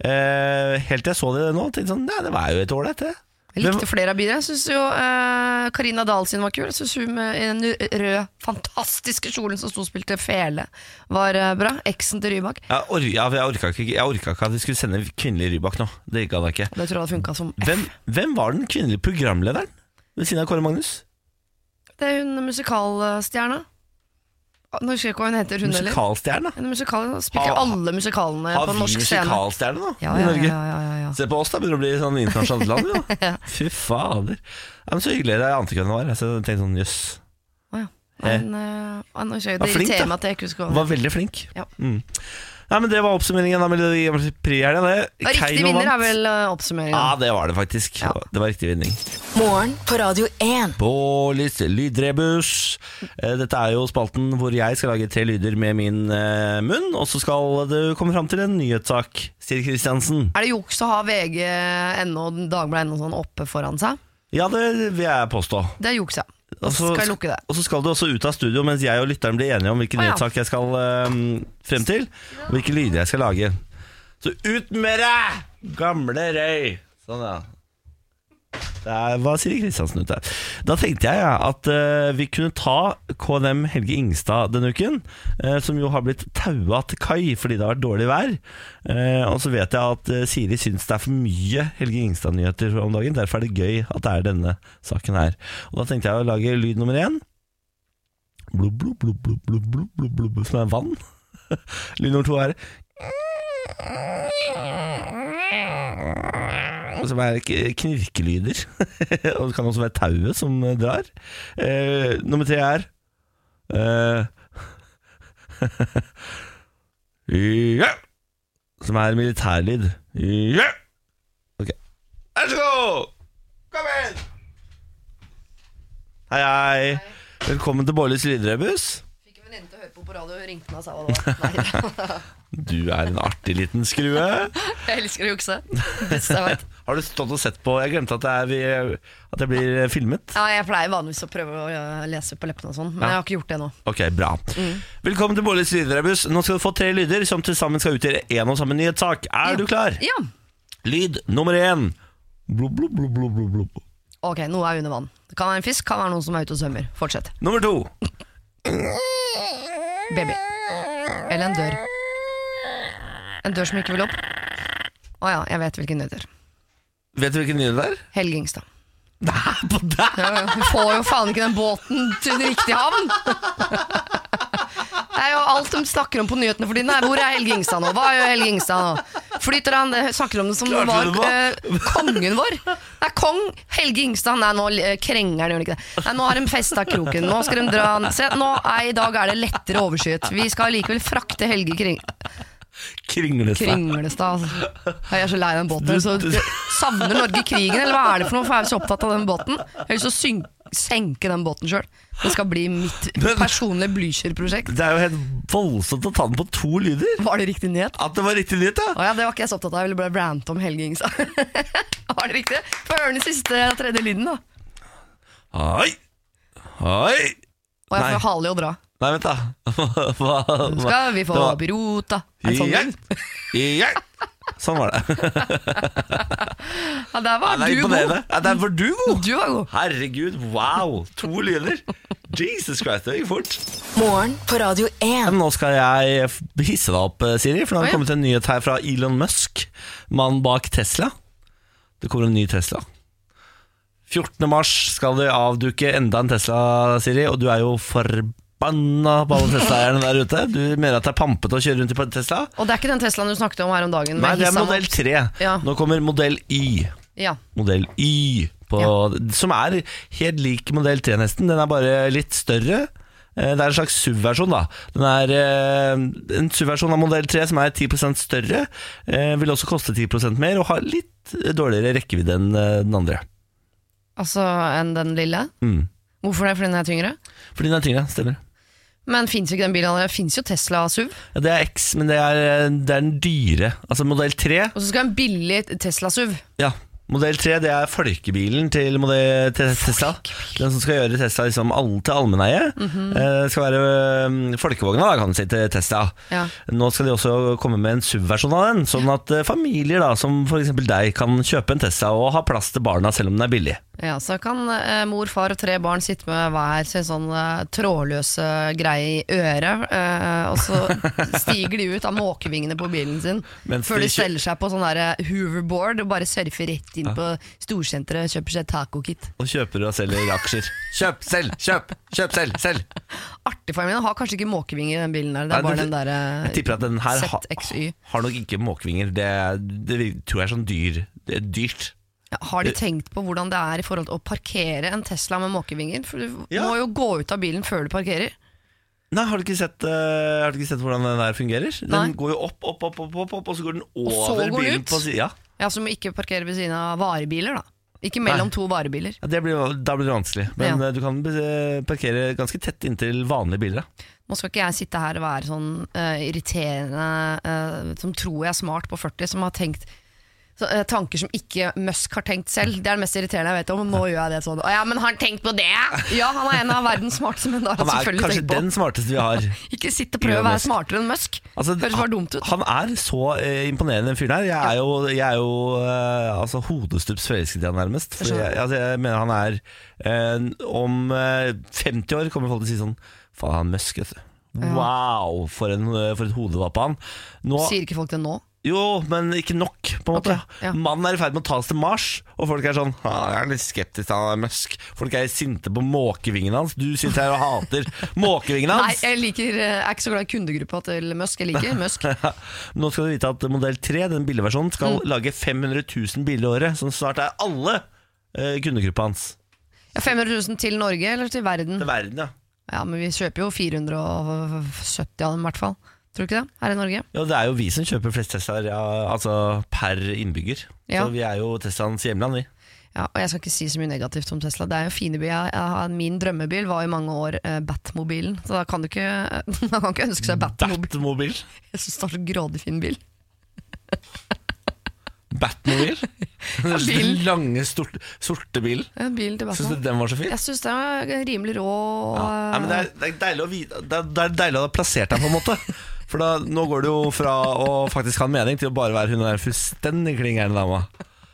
A: Eh, helt til jeg så det nå, tenkte jeg sånn, ja, det var jo et ålreit, det.
B: Jeg
A: Hvem-
B: likte flere av bidragene. Jeg syns jo eh, Karina Dahl sin var kul. Jeg syns hun med den rød, fantastiske kjolen som sto og spilte fele, var eh, bra. Eksen til Rybak.
A: Jeg, or ja, for jeg orka ikke, jeg orka ikke at vi skulle sende kvinnelig Rybak nå. Det gadd jeg ikke.
B: Det tror jeg hadde funka som
A: Hvem, hvem var den kvinnelige programlederen ved siden av Kåre Magnus?
B: Det er hun musikalstjerna. Å, Nå husker jeg ikke hva hun heter, hun heller.
A: Musikalstjerne?
B: Hun musikal, spiller
A: Har-
B: jo alle musikalene
A: Ah, Har
B: på
A: vi
B: norsk scene.
A: musikalstjerne nå
B: Ja,
A: i
B: ja,
A: Norge?
B: ja, ja, ja, ja.
A: Se på oss, da begynner det å bli sånn internasjonalt land. jo. Fy fader. Ja, men så hyggelig. Jeg ante ikke hvem det var. Så jeg tenkte sånn, jøss.
B: Å, ja. Men, eh, å, nå husker jeg,
A: Var
B: det
A: flink, da.
B: irriterer meg at jeg ikke husker hva hun
A: Var veldig flink.
B: Ja.
A: Mm. Nei, men Det var oppsummeringen av Melodi Grand Prix-helga. det.
B: Ja, Riktig
A: Keiino
B: vinner
A: vant.
B: er
A: Ah.
B: vel eh,
A: Ja,
B: oppsummeringen.
A: det var det faktisk.
B: Ja.
A: Det var riktig vinning.
C: Morgen på Radio 1.
A: Bålis lydrebus. Eh, Dette er jo spalten hvor jeg skal lage tre lyder med min eh, munn, og så skal det komme fram til en nyhetssak. Siri Kristiansen.
B: Er det juks å ha VG.no og Dagbladet.no sånn oppe foran seg?
A: Ja, det vil jeg påstå.
B: Det er juks, ja. Og så
A: Altså,
B: skal jeg lukke det.
A: Og så skal du også ut av studio mens jeg og lytteren blir enige om hvilken
B: Å, ja.
A: nyhetssak jeg skal eh, frem til, og hvilke lyder jeg skal lage. Så ut med deg, gamle røy! Sånn, ja. Der var Siri Kristiansen ute. Da tenkte jeg ja, at eh, vi kunne ta KNM Helge Ingstad denne uken, eh, som jo har blitt taua til kai fordi det har vært dårlig vær. Eh, og så vet jeg at eh, Siri syns det er for mye Helge Ingstad-nyheter om dagen. Derfor er det gøy at det er denne saken her. Og da tenkte jeg å lage lyd nummer én. Blub, blub, blub, blub, blub, blub, blub, blub, som er vann. Lyd nummer to er Som er k- knirkelyder. Og det kan også være tauet som eh, drar. Eh, nummer tre er eh, ja, Som er militærlyd. Ja. Ok. Vær så god! Kom inn! Hei, hei. Velkommen til Bårlis lydrebus.
B: Fikk en venninne til å høre på på radio og ringte meg og sa hva det var. Nei,
A: Du er en artig liten skrue. Har
B: jeg elsker å jukse. Beste jeg vet.
A: du stått og sett på? Jeg glemte at, det er, vi- at jeg blir filmet.
B: Ja, jeg pleier vanligvis å prøve å eh, lese på leppene og sånn, men
A: Ja.
B: jeg har ikke gjort det nå.
A: Ok, bra.
B: Mm.
A: Velkommen til Bårlis lydrebus. Nå skal du få tre lyder som til sammen skal utgjøre én og samme nyhetssak. Er du klar?
B: Ja.
A: Lyd nummer én. Blub, blub, blub, blub, blub, blub.
B: Ok, noe er under vann. Det kan være en fisk, kan være noen som er ute og svømmer. Fortsett.
A: Nummer to.
B: Baby. Eller en dør. En dør som ikke vil opp. Å ja, jeg vet hvilken nyheter.
A: Vet du hvilken nyhet det er?
B: Helge Ingstad.
A: Nei, på deg!
B: Ja, ja. Du får jo faen ikke den båten til den riktige havn! Det er jo alt de snakker om på nyhetene for tiden. Nei, Hvor er Helge Ingstad nå? Hva gjør Helge Ingstad nå? Flyter han? eh, Snakker om det som
A: Klarte
B: var
A: du det på?
B: eh, kongen vår? Nei, kong Helge Ingstad. Nei, nå eh, krenger han, gjør han ikke det? Nei, nå har de festa kroken. Nå skal de dra han Se, nå er, i dag er det lettere overskyet. Vi skal likevel frakte Helge Kring
A: Kringlestad.
B: Kringlestad. Altså. Jeg er så lei den båten. Så savner Norge krigen, eller hva er det for noe? For jeg er vi så opptatt av den båten. Jeg vil så syn- senke den båten sjøl. Det skal bli mitt
A: Men-
B: personlige Blücher-prosjekt.
A: Det er jo helt voldsomt å ta den på to lyder.
B: Var det riktig nyhet?
A: At det var riktig nyhet, ja!
B: Å ja, det var ikke jeg så opptatt av. Jeg ville bare rante om Helge Ingstad. Var det riktig? Få høre den siste og tredje lyden, da.
A: Hei! Hei!
B: Og jeg
A: Nei.
B: får hale i å dra.
A: Nei, vent, da. Hva, hva?
B: Skal vi få
A: Det var-
B: Birota? Er det sånn
A: Ja.
B: lyd?
A: Ja. Sånn var det.
B: Ja, der var
A: det er
B: du god.
A: imponerende. Ja, der var du god!
B: Du var god.
A: Herregud, wow! To lyder. Jesus Christ, det gikk fort.
C: Morgen på Radio 1.
A: Nå skal jeg f- hisse deg opp, eh, Siri, for det
B: Å,
A: har
B: ja.
A: kommet en nyhet her fra Elon Musk, mannen bak Tesla. Det kommer en ny Tesla. 14. mars skal de avduke enda en Tesla, Siri, og du er jo forbanna på alle Tesla-eierne der ute. Du mener at det er pampete å kjøre rundt i på Tesla?
B: Og det er ikke den Teslaen du snakket om her om dagen.
A: Nei,
B: med
A: det er
B: hissa
A: modell
B: opp.
A: 3.
B: Ja.
A: Nå kommer modell Y.
B: Ja.
A: Modell Y, på, som er helt lik modell 3 nesten. Den er bare litt større. Eh, Det er en slags subversjon, da. Den er eh, en subversjon av modell 3 som er 10 større. eh, Vil også koste 10 mer og har litt eh, dårligere rekkevidde enn eh, den andre.
B: Altså enn den lille.
A: Mm.
B: Hvorfor det? Fordi den er tyngre?
A: Fordi den er tyngre, stemmer det.
B: Men fins jo ikke den bilen allerede? Fins jo Tesla SUV?
A: Ja, det er X, men det er, eh, det er den dyre. Altså modell 3
B: Og så skal en billig Tesla SUV.
A: Ja, modell 3 det er folkebilen til, modell, til Tesla. Den som skal gjøre Tesla liksom all, til allmenneie. eh, skal være øhm, folkevogna, da, kan du si, til Tesla.
B: Ja.
A: Nå skal de også komme med en subversjon av den, sånn at eh, familier da, som f.eks. deg kan kjøpe en Tesla og ha plass til barna selv om den er billig.
B: Ja, så kan eh, mor, far og tre barn sitte med hver sin sånn eh, trådløse greie i øret, eh, og så stiger de ut av måkevingene på bilen sin
A: Mens
B: før
A: de
B: de
A: kjø-
B: steller seg på sånn der eh, hoverboard og bare surfer rett inn på storsenteret og kjøper seg taco-kit.
A: Og kjøper og selger aksjer. Kjøp selv, kjøp, kjøp selv, selv.
B: Artig for min, har kanskje ikke måkevinger i den bilen der,
A: Nei,
B: det er bare
A: det-
B: den der eh,
A: Jeg tipper at den her ha,
B: ZXY.
A: har nok ikke måkevinger. Det, det vil- tror jeg er sånn dyr. Det er dyrt.
B: Ja, Har de tenkt på hvordan det er i forhold til å parkere en Tesla med måkevinger? For du
A: Ja.
B: må jo gå ut av bilen før du parkerer.
A: Nei, har du ikke sett, eh, har du ikke sett hvordan den der fungerer? Den
B: Nei.
A: går jo opp, opp, opp, opp, opp, opp og så går den
B: så
A: over
B: går den
A: bilen
B: ut?
A: på siden. Ja.
B: Ja, Som ikke parkerer ved siden av varebiler, da. Ikke mellom
A: Nei.
B: to varebiler.
A: Ja, det blir, da blir det vanskelig. Men eh, du kan eh, parkere ganske tett inntil vanlige biler. da.
B: Nå skal ikke jeg sitte her og være sånn eh, irriterende eh, som tror jeg er smart på 40, som har tenkt så, eh, tanker som ikke Musk har tenkt selv. Det er det mest irriterende jeg vet om. Nå gjør jeg det sånn. Å ja, men har han tenkt på det? Ja, han er en av verdens smarteste, men da har
A: Han
B: han
A: er
B: selvfølgelig
A: kanskje
B: tenkt på
A: den smarteste vi har.
B: Ikke sitt og prøv å
A: Elon
B: være
A: Musk.
B: smartere enn Musk.
A: Altså,
B: Høres bare dumt ut.
A: Han er så eh, imponerende, den fyren her. Jeg er jo, jeg er jo eh, altså, hodestups forelsket i han nærmest. For
B: skjønner.
A: jeg, altså, jeg mener han er eh, Om eh, 50 år kommer folk til å si sånn Faen, han Musk, vet du. Wow, for, en, eh, for et hode var på han. Nå,
B: Sier ikke folk det nå?
A: Jo, men ikke nok, på en måte.
B: Ok, ja.
A: Mannen er i ferd med å ta oss til Mars, og folk er sånn «Ah, Jeg er litt skeptisk til han der Musk. Folk er sinte på måkevingene hans. Du syns jeg hater måkevingene
B: Nei,
A: hans!
B: jeg, liker, eh, jeg er ikke så glad i kundegruppa til Musk. Jeg liker Musk.
A: Nå skal du vite at modell 3, den billigversjonen,
B: Mm.
A: skal lage 500 000 biler i året, som snart er alle eh, kundegruppa hans.
B: Ja, 500 000 til Norge eller til verden?
A: Til verden, ja.
B: Ja, men vi kjøper jo 470 av dem i hvert fall. Tror du ikke det? Her i Norge.
A: ja. Det er jo vi som kjøper flest Teslaer ja, altså per innbygger.
B: Ja.
A: Så vi er jo Teslaens hjemland, vi.
B: Ja, og jeg skal ikke si så mye negativt om Tesla. Det er jo fine bil. Jeg, jeg, har- min drømmebil var i mange år eh, Batmobilen, så da kan du ikke, man kan ikke ønske seg Batmobil.
A: Batmobil.
B: Jeg synes det var så grådig fin bil.
A: Batmobil? Den
B: bil.
A: lange, stort, sorte bilen.
B: Ja, bilen til
A: Syns
B: Batman.
A: du den var så fin?
B: Jeg synes det var rimelig rå. eh,
A: Ja. Nei, men det, er, det, er deilig å vite, det, er, det er deilig å ha plassert deg, på en måte. For da, nå går det jo fra å faktisk ha en mening til å bare være hun der fullstendig klin gærne dama.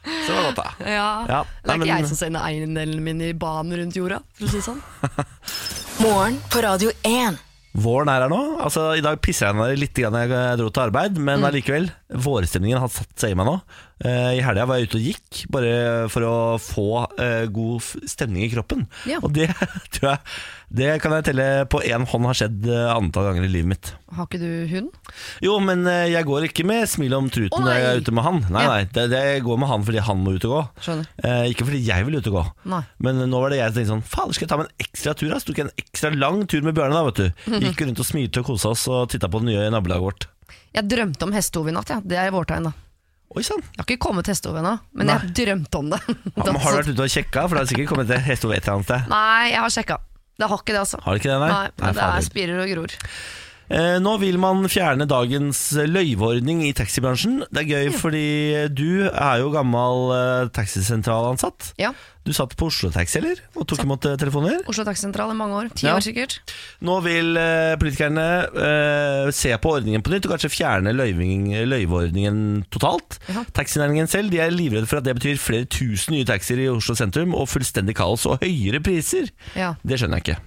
A: Så det var godt, da.
B: ja.
A: Ja,
B: det
A: nei,
B: er ikke
A: men-
B: jeg som sender eiendelen min i banen rundt jorda, for å si det sånn.
C: Morgen på Radio 1.
A: Våren er her nå. Altså, I dag pisser jeg meg litt grann jeg dro til arbeid, men
B: Mm.
A: allikevel. Vårstemningen har satt seg i meg nå. Eh, I helga var jeg ute og gikk, bare for å få eh, god f- stemning i kroppen.
B: Ja.
A: Og det tror jeg Det kan jeg telle på én hånd har skjedd eh, antall ganger i livet mitt.
B: Har ikke du hund?
A: Jo, men eh, jeg går ikke med smil om truten
B: Å, nei.
A: når jeg er ute med han. Nei,
B: Ja.
A: nei, det, det jeg går med han fordi han må ut og gå.
B: Skjønner.
A: Eh, ikke fordi jeg vil ut og gå.
B: Nei.
A: Men nå var det jeg som tenkte sånn Fader, skal jeg ta meg en ekstra tur? ass? Tok jeg en ekstra lang tur med Bjørne, da, vet du. Gikk rundt og smilte og kosa oss og titta på det nye nabolaget vårt.
B: Jeg drømte om hestehove i natt, ja. det er vårtegn. da.
A: Oi sann.
B: Jeg har ikke kommet hestehove ennå, men
A: Nei.
B: jeg drømte om det.
A: Ja, men har du vært ute og sjekka? For det har sikkert kommet et hestehove et eller annet sted.
B: Nei, jeg har sjekka. Det har ikke det, altså.
A: Har det ikke det, nei?
B: Nei,
A: Nei,
B: det
A: fader.
B: er spirer og gror.
A: Eh, Nå vil man fjerne dagens løyveordning i taxibransjen. Det er gøy, fordi du er jo gammel eh, taxisentralansatt.
B: Ja.
A: Du satt på Oslo Taxi, eller? Og tok imot eh, telefoner?
B: Oslo Taxisentral i mange år. Ti
A: Ja.
B: år sikkert.
A: Nå vil eh, politikerne eh, se på ordningen på nytt og kanskje fjerne løyving, løyveordningen totalt.
B: Ja.
A: Taxinæringen selv de er livredde for at det betyr flere tusen nye taxier i Oslo sentrum og fullstendig kaos og høyere priser.
B: Ja.
A: Det skjønner jeg ikke.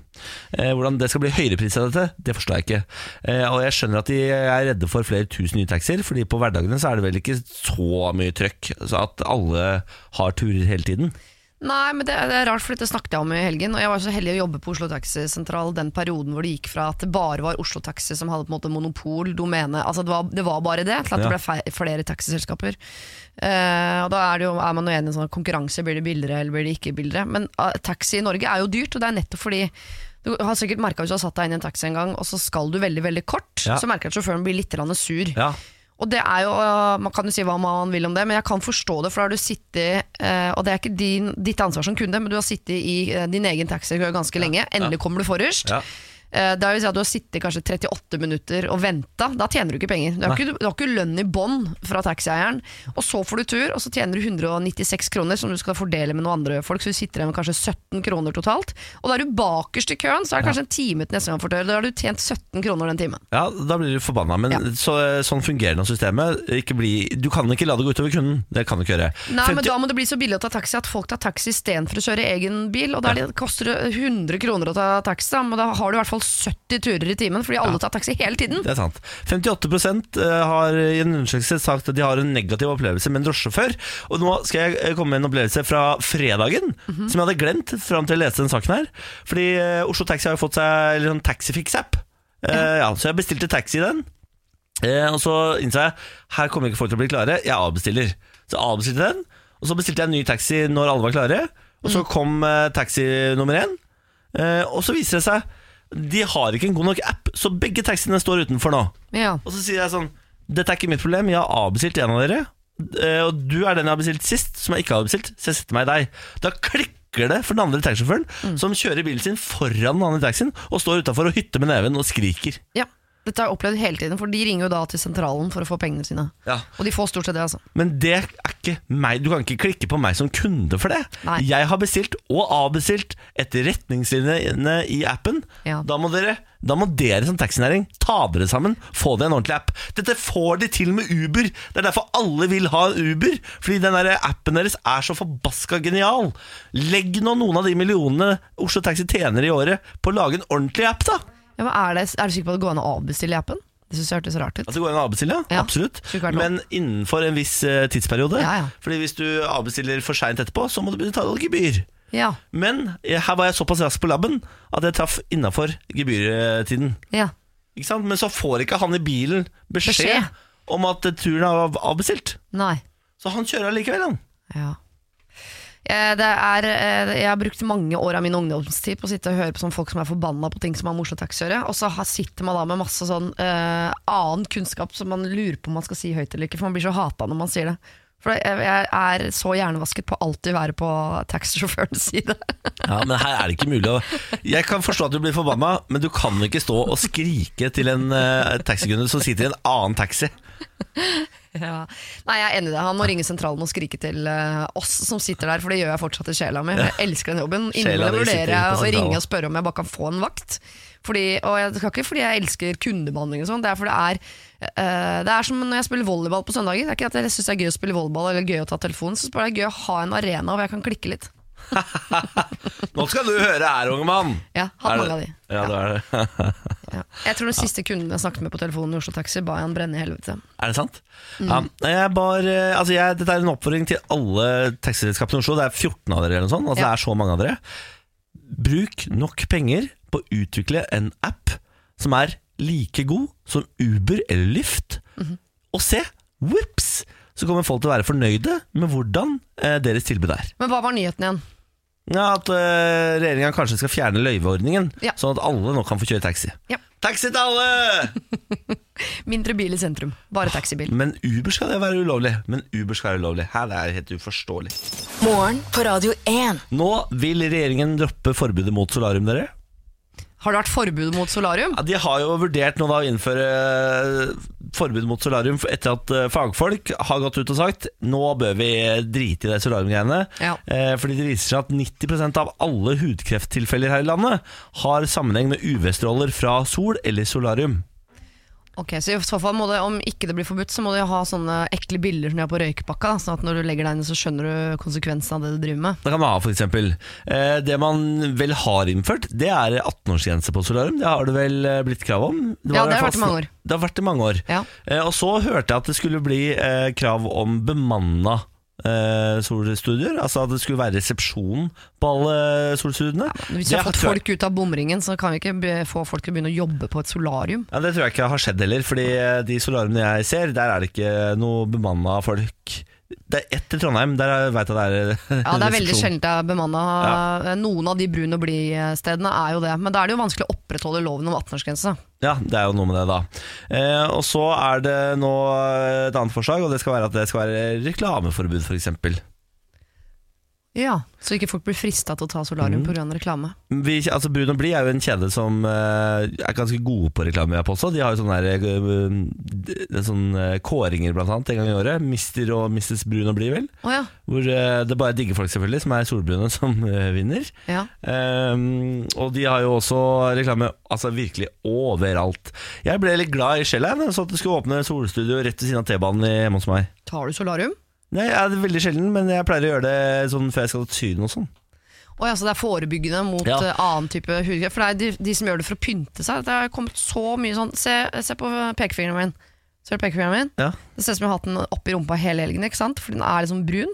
A: Eh, Hvordan det skal bli høyere pris av dette, det forstår jeg ikke. Eh, Og jeg skjønner at de er redde for flere tusen nye taxier, fordi på hverdagene så er det vel ikke så mye trøkk så at alle har turer hele tiden.
B: Nei, men det er, det er rart, for dette snakket jeg om i helgen. Og jeg var så heldig å jobbe på Oslo Taxisentral den perioden hvor det gikk fra at det bare var Oslo Taxi som hadde på en måte monopol, domene Altså det var, det var bare det, til at det
A: Ja.
B: ble fe- flere taxiselskaper. Eh, og da er, det jo, er man jo enig i sånn konkurranse, blir det billigere eller blir det ikke billigere? Men ah, taxi i Norge er jo dyrt, og det er nettopp fordi du har sikkert merka hvis du har satt deg inn i en taxi en gang, og så skal du veldig veldig kort,
A: Ja.
B: så merker du at sjåføren blir litt grann sur.
A: Ja,
B: Og det er jo, øh, Man kan jo si hva man vil om det, men jeg kan forstå det. For da har du sittet, øh, og det er ikke din, ditt ansvar som kunde, men du har sittet i øh, din egen taxi ganske lenge. Endelig kommer du forrest.
A: Ja.
B: Eh, Det vil si at Du har sittet kanskje 38 minutter og venta. Da tjener du ikke penger. Du har ikke, du har ikke lønn i bånn fra taxieieren. Og så får du tur, og så tjener du 196 kroner som du skal fordele med noen andre folk. Så du sitter igjen med kanskje 17 kroner totalt. Og da er du bakerst i køen, så er det kanskje en time til neste gang for dør. Da har du tjent 17 kroner den timen.
A: ja da blir du forbanna. Men
B: Ja.
A: så, sånn fungerer nå systemet. Ikke bli, du kan ikke la det gå utover kunden. Det kan du ikke gjøre.
B: Nei,
A: 50
B: men da må det bli så billig å ta taxi at folk tar taxi istedenfor å kjøre egen bil. Og da er det, koster det 100 kroner å ta taxi, da, men da har du i hvert fall 70 turer i timen, fordi alle tar taxi hele tiden.
A: Det er sant. 58 har i en undersøkelse sagt at de har en negativ opplevelse med en drosjesjåfør. Og nå skal jeg eh, komme med en opplevelse fra fredagen, som jeg hadde glemt fram til jeg leste den saken her. Fordi eh, Oslo Taxi har jo fått seg eller sånn taxifix-app. Eh, ja, så jeg bestilte taxi i den. Eh, og så innså jeg her kommer ikke folk til å bli klare, jeg avbestiller. Så avbestilte jeg den, og så bestilte jeg en ny taxi når alle var klare. Og så kom eh, taxi nummer én. Eh, og så viser det seg de har ikke en god nok app, så begge taxiene står utenfor nå.
B: Ja.
A: Og så sier jeg sånn Dette er ikke mitt problem, jeg har avbestilt en av dere eh, Og du er den jeg har bestilt sist Som jeg ikke har avbestilt, så jeg setter meg i deg Da klikker det for den andre taxisjåføren Som kjører bilen sin foran den andre taxien Og står utenfor og hytter med neven og skriker
B: ja. Dette har jeg opplevd hele tiden, for de ringer jo da til sentralen for å få pengene sine.
A: Ja.
B: Og de får stort sett det, altså.
A: Men det er ikke meg Du kan ikke klikke på meg som kunde for det
B: Nei.
A: Jeg har bestilt og avbestilt Etter retningslinjene i appen
B: Ja.
A: Da må dere da må dere som taxinæring ta dere sammen, få det en ordentlig app. Dette får de til med Uber. Det er derfor alle vil ha Uber, fordi den der appen deres er så forbaska genial. Legg nå noen av de millionene Oslo Taxi tjener i året på å lage en ordentlig app, da.
B: Ja, men er, det, er du sikker på at det går an å avbestille i appen? Det syns jeg hørtes rart ut.
A: At det går an å avbestille, ja.
B: Ja,
A: Absolutt.
B: skulle ikke vært lov.
A: Men innenfor en viss eh, tidsperiode.
B: Ja, ja.
A: Fordi hvis du avbestiller for seint etterpå, så må du betale gebyr.
B: Ja,
A: Men eh, her var jeg såpass rask på labben at jeg traff innafor gebyrtiden.
B: ja.
A: Ikke sant? Men så får ikke han i bilen beskjed,
B: Beskjed.
A: om at eh, turen er av- avbestilt.
B: Nei.
A: Så han kjører allikevel, han.
B: Ja. Eh, Det er, eh, jeg har brukt mange år av min ungdomstid på å sitte og høre på sånn folk som er forbanna på ting som har med Oslo Taxi å gjøre. Og så har- sitter man da med masse sånn eh, annen kunnskap som man lurer på om man skal si høyt eller ikke, for man blir så hata når man sier det. For jeg- jeg er så hjernevasket på å alltid være på taxisjåførens side.
A: Ja, Men her er det ikke mulig å Jeg kan forstå at du blir forbanna, men du kan ikke stå og skrike til en uh, taxikunde som sitter i en annen taxi.
B: Ja. Nei, jeg er enig i det. Han må ringe sentralen og skrike til eh, oss som sitter der, for det gjør jeg fortsatt i sjela mi. Jeg elsker den jobben.
A: Sjela
B: Innimellom
A: di sitter på
B: vurderer jeg å
A: sentralen.
B: ringe og spørre om jeg bare kan få en vakt. Fordi, og jeg det skal ikke fordi jeg elsker kundebehandling og sånn, det er fordi det er eh, det er som når jeg spiller volleyball på søndager. Det er ikke at jeg syns det er gøy å spille volleyball eller gøy å ta telefonen, så bare det er gøy å ha en arena hvor jeg kan klikke litt.
A: Nå skal du høre her, unge mann!
B: Ja, hatt
A: Er
B: mange av de.
A: det- Ja, det er det.
B: Ja. Jeg tror den siste kunden jeg snakket med på telefonen i Oslo Taxi, ba jeg han brenne i helvete.
A: Er det sant? Ja, jeg bar, eh, altså jeg, dette er en oppfordring til alle taxiselskapene i Oslo. Det er 14 av dere, eller noe sånt. Altså
B: Ja.
A: Det er så mange av dere. Bruk nok penger på å utvikle en app som er like god som Uber eller Lyft.
B: Mhm.
A: Og se, whoops, så kommer folk til å være fornøyde med hvordan eh, deres tilbud er.
B: Men hva var nyheten igjen?
A: Ja, At eh, regjeringa kanskje skal fjerne løyveordningen,
B: Ja.
A: sånn at alle nå kan få kjøre taxi.
B: Ja.
A: Taxi til alle!
B: Mindre bil i sentrum. Bare taxibil.
A: Men Uber skal det være ulovlig. Men Uber skal være ulovlig. Her er det helt uforståelig.
C: Morgen på Radio 1.
A: Nå vil regjeringen droppe forbudet mot solarium, dere.
B: Har det vært forbud mot solarium?
A: Ja, de har jo vurdert nå da å innføre eh, forbud mot solarium etter at eh, fagfolk har gått ut og sagt nå bør vi drite i det solariumgreiene.
B: Ja.
A: Eh, Fordi det viser seg at 90 av alle hudkrefttilfeller her i landet har sammenheng med UV-stråler fra sol eller solarium.
B: Ok, så i så fall må det, Om ikke det blir forbudt, så må du ha sånne ekle biller som de har på røykepakka. da, Sånn at når du legger deg inn, så skjønner du konsekvensen av det du driver med.
A: Det kan man ha, for eksempel. Eh, Det man vel har innført, det er 18-årsgrense på solarium. Det har det vel eh, blitt krav om? var
B: Ja, det har
A: i hvert
B: vært i
A: fall-
B: mange år.
A: Det har vært i mange år.
B: Ja.
A: Eh, Og så hørte jeg at det skulle bli eh, krav om bemanna eh, solstudier. Altså at det skulle være resepsjon på alle eh, solstudiene.
B: Hvis vi
A: Det
B: har fått
A: tror jeg-
B: folk ut av bomringen, så kan vi ikke be- få folk til å begynne å jobbe på et solarium.
A: Ja, Det tror jeg ikke har skjedd heller, Fordi eh, de solariumene jeg ser, der er det ikke noe bemanna folk. Det er ett i Trondheim, der veit jeg det er eh,
B: Ja, Det er veldig
A: resepsjon.
B: sjelden det er bemanna. eh, Noen av de brun og blid-stedene er jo det. Men da er det jo vanskelig å opprettholde loven om 18-årsgrense.
A: Ja, det er jo noe med det, da. Eh, og så er det nå et annet forslag, og det skal være at det skal være reklameforbud, f.eks.
B: Ja, Så ikke folk blir frista til å ta
A: Mm.
B: solarium pga. reklame.
A: Vi, altså Brun og Blid er jo en kjede som eh, er ganske gode på reklame, vil jeg påstå. De har jo sånne, der, eh, det er sånne kåringer, blant annet, en gang i året. Mister og Mrs. Brun og Blid, vel.
B: Å ja.
A: Hvor eh, det bare digger folk, selvfølgelig, som er solbrune, som eh, vinner.
B: ja.
A: Ehm, og de har jo også reklame altså virkelig overalt. Jeg ble litt glad i sjela jeg, da jeg så at det skulle åpne solstudio rett ved siden av T-banen i- hjemme hos meg.
B: Tar du solarium?
A: Nei, jeg er det veldig sjelden, men jeg pleier å gjøre det sånn før jeg skal til Syden og sånn.
B: Å ja, Så altså, det er forebyggende mot
A: Ja.
B: eh, annen type hudkreft? For det er de, de som gjør det for å pynte seg. Det er kommet så mye sånn Se, se på pekefingeren min. Ser du pekefingeren min?
A: Ja.
B: Det ser ut som jeg har hatt den oppi rumpa hele helgen, ikke sant? for den er liksom brun.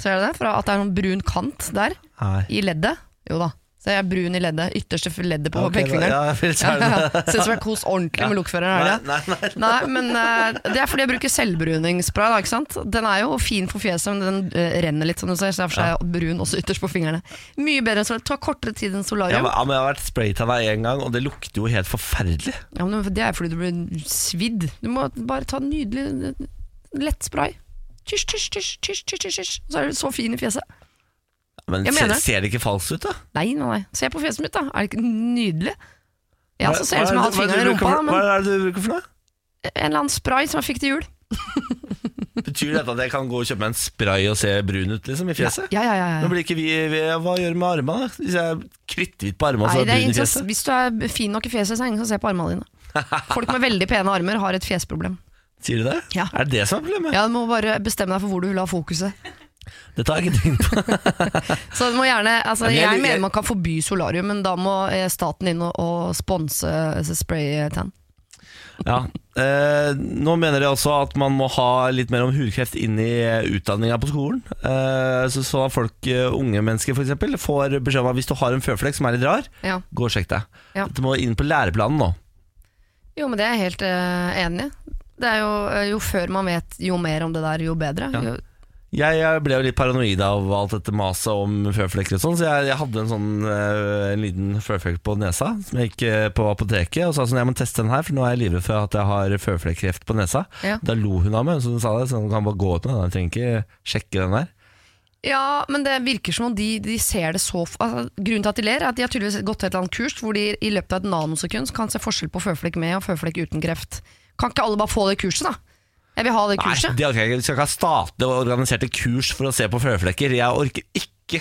B: Ser du det? Fra at det er en brun kant der,
A: Nei.
B: i leddet. Jo da. Så jeg er brun i leddet, ytterste leddet på
A: Ok, da-
B: pekefingeren.
A: Ja, vel, så
B: Ja,
A: er
B: ja,
A: det.
B: ja. Ser ut som jeg har kost ordentlig med lokføreren. er det?
A: Nei, nei, nei.
B: Nei, men eh, det er fordi jeg bruker selvbruningsspray. Da, ikke sant? Den er jo fin for fjeset, men den eh, renner litt, som du ser. Så derfor er jeg brun også ytterst på fingrene. Mye bedre enn solarium. Det tar kortere tid enn
A: Ja,
B: solarium.
A: men ja, men jeg har vært spraytanna én gang, og det lukter jo helt forferdelig.
B: Ja, men det er fordi du blir svidd. Du må bare ta nydelig eh, lettspray. Tysj, tysj, tysj, tysj, tysj, tysj, tysj. Så er du så fin i fjeset.
A: Men
B: Jeg
A: ser,
B: mener.
A: ser det ikke falskt ut, da?
B: Nei, nei, nei. Se på fjeset mitt, da. Er det ikke nydelig? Ja,
A: Hva-
B: så ser det ut
A: hva er
B: som jeg har hatt
A: det- hva er det
B: fingeren i
A: du
B: rumpa,
A: bruker
B: da,
A: for-
B: men
A: Hva er det du bruker for noe?
B: en eller annen spray som jeg fikk til jul.
A: Betyr dette at jeg kan gå og kjøpe meg en spray og se brun ut liksom, i fjeset?
B: Ja, ja, ja, ja.
A: Nå blir ikke vi, vi Hva gjør vi med armene? da? Hvis jeg er kritthvit på armene, så
B: Nei,
A: er
B: det er
A: jeg brun Altså i
B: ingen
A: fjeset?
B: som, hvis du er fin nok i fjeset, så er det ingen som ser på armene dine. Folk med veldig pene armer har et fjesproblem.
A: Sier du det?
B: Ja.
A: Er det det som er problemet?
B: Ja, Du må bare bestemme deg for hvor du vil ha fokuset.
A: Dette har jeg ikke tenkt på.
B: Så du må gjerne, altså,
A: Men jeg-
B: jeg,
A: jeg-
B: mener man kan forby solarium, men da må eh, staten inn og, og sponse eh, spraytan.
A: Ja. Eh, nå mener de også at man må ha litt mer om hudkreft inn i utdanninga på skolen. Eh, så, så folk, eh, unge mennesker f.eks., får beskjed om at hvis du har en føflekk som er litt rar,
B: Ja.
A: gå og sjekk deg.
B: Ja.
A: Du må inn på læreplanen nå.
B: Jo, men det er jeg helt eh, enig i. Det er jo, eh, jo før man vet jo mer om det der, jo bedre.
A: Ja.
B: Jo,
A: Jeg, jeg ble jo litt paranoid av alt dette maset om føflekker og sånn, så jeg, jeg hadde en sånn eh, en liten føflekk på nesa som jeg gikk eh, på apoteket og sa sånn, jeg må teste den her, for nå er jeg livredd for at jeg har føflekkreft på nesa.
B: Ja.
A: Da lo hun av meg, så hun sa det, så hun kan bare gå ut med den, jeg trenger ikke sjekke den der.
B: Ja, men det virker som om de, de ser det så f- altså, Grunnen til at de ler, er at de har tydeligvis gått til et eller annet kurs hvor de i løpet av et nanosekund kan se forskjell på føflekk med og føflekk uten kreft. Kan ikke alle bare få det kurset, da? Jeg vil ha det
A: Nei,
B: kurset.
A: det orker jeg ikke. Vi skal ikke ha statlig organiserte kurs for å se på føflekker. Jeg orker ikke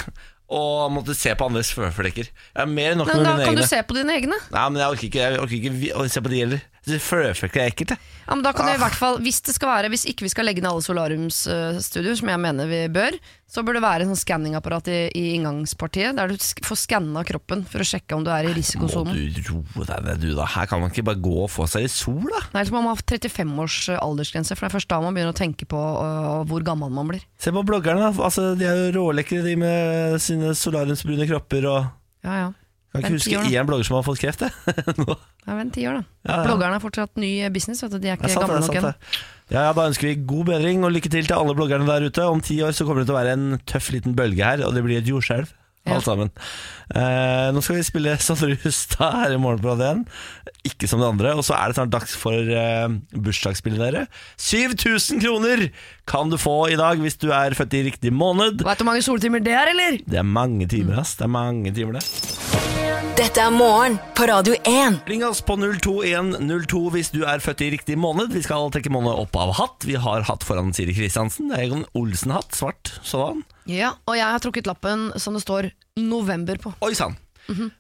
A: å måtte se på andres føflekker. Jeg er mer enn nok
B: Nei,
A: med
B: men da
A: mine
B: kan
A: egne.
B: du se på dine egne.
A: Nei, men jeg orker ikke, jeg orker ikke vi- å se på de heller. Jeg synes Føflekker er ekkelt, jeg.
B: Ja, men da kan vi i
A: Ah.
B: hvert fall, Hvis det skal være, hvis ikke vi skal legge ned alle solariumsstudioer, som jeg mener vi bør, så bør det være en sånn skanningapparat i, i inngangspartiet, der du sk- får skanna kroppen for å sjekke om du er i risikosonen.
A: Må du roe deg ned, du, da. Her kan man ikke bare gå og få seg litt sol, da.
B: Nei, så Man må ha 35 års eh, aldersgrense, for det er først da man begynner å tenke på øh, hvor gammel man blir.
A: Se på bloggerne, da. Altså, de er jo rålekre, de med sine solariumsbrune kropper og
B: Ja, ja.
A: Kan ikke
B: Men
A: huske
B: ti år, da.
A: én blogger som har fått kreft, jeg. Nå.
B: Ja, vent ti år, da.
A: Ja, ja.
B: Bloggerne er fortsatt ny eh, business. Vet du. De er
A: Det
B: ikke
A: er sant,
B: gamle
A: det
B: nok
A: er
B: ennå.
A: sant, det. Ja, ja, da ønsker vi god bedring og lykke til til alle bloggerne der ute. Om ti år så kommer det til å være en tøff liten bølge her, og det blir et jordskjelv.
B: Ja.
A: Alt sammen. Eh, nå skal vi spille Sondre Hustad her i morgen på Radio 1. Ikke som det andre. Og så er det snart dags for eh, bursdagsspillet, dere. 7000 kroner kan du få i dag hvis du er født i riktig måned.
B: Veit du hvor mange soltimer det er, eller?
A: Det er mange
B: Mm.
A: timer, ass. Det er mange timer, det.
C: Dette er morgen på Radio 1.
A: Ring oss på 02102 hvis du er født i riktig måned. Vi skal trekke måned opp av hatt. Vi har hatt foran Siri Kristiansen. Det er Egon Olsen-hatt, svart sådan.
B: Ja, og jeg har trukket lappen som det står 'november' på.
A: Oi sann.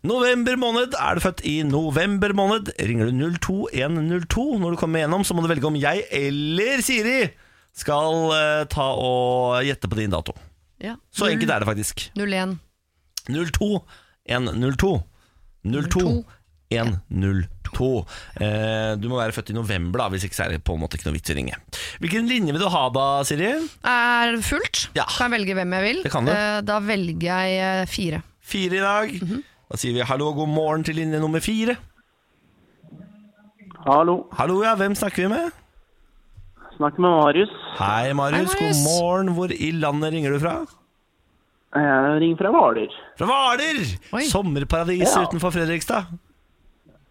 A: November måned. Er du født i november måned, ringer du 02102. Når du kommer gjennom, så må du velge om jeg eller Siri skal eh, ta og gjette på din dato.
B: Ja.
A: Så enkelt
B: Mm.
A: er det faktisk.
B: 01.
A: 02 102 02 102 eh, Du må være født i november da Hvis ikke så er det på en måte ikke noe vits å ringe Hvilken linje vil du ha da, Siri?
B: Er det fullt?
A: Ja.
B: Kan jeg velge hvem jeg vil?
A: Det kan du.
B: Eh, Da velger jeg eh, fire.
A: Fire i dag Da sier vi hallo og god morgen til linje nummer fire
D: Hallo.
A: Hallo, ja, hvem snakker vi med?
D: Snakk med Marius.
A: Hei Marius,
B: Hei,
A: god
B: Marius.
A: morgen Hvor i landet ringer du fra?
D: Jeg ringer Eh, fra Hvaler.
A: Fra Hvaler!
B: Oi.
A: Sommerparadis
D: Ja.
A: utenfor Fredrikstad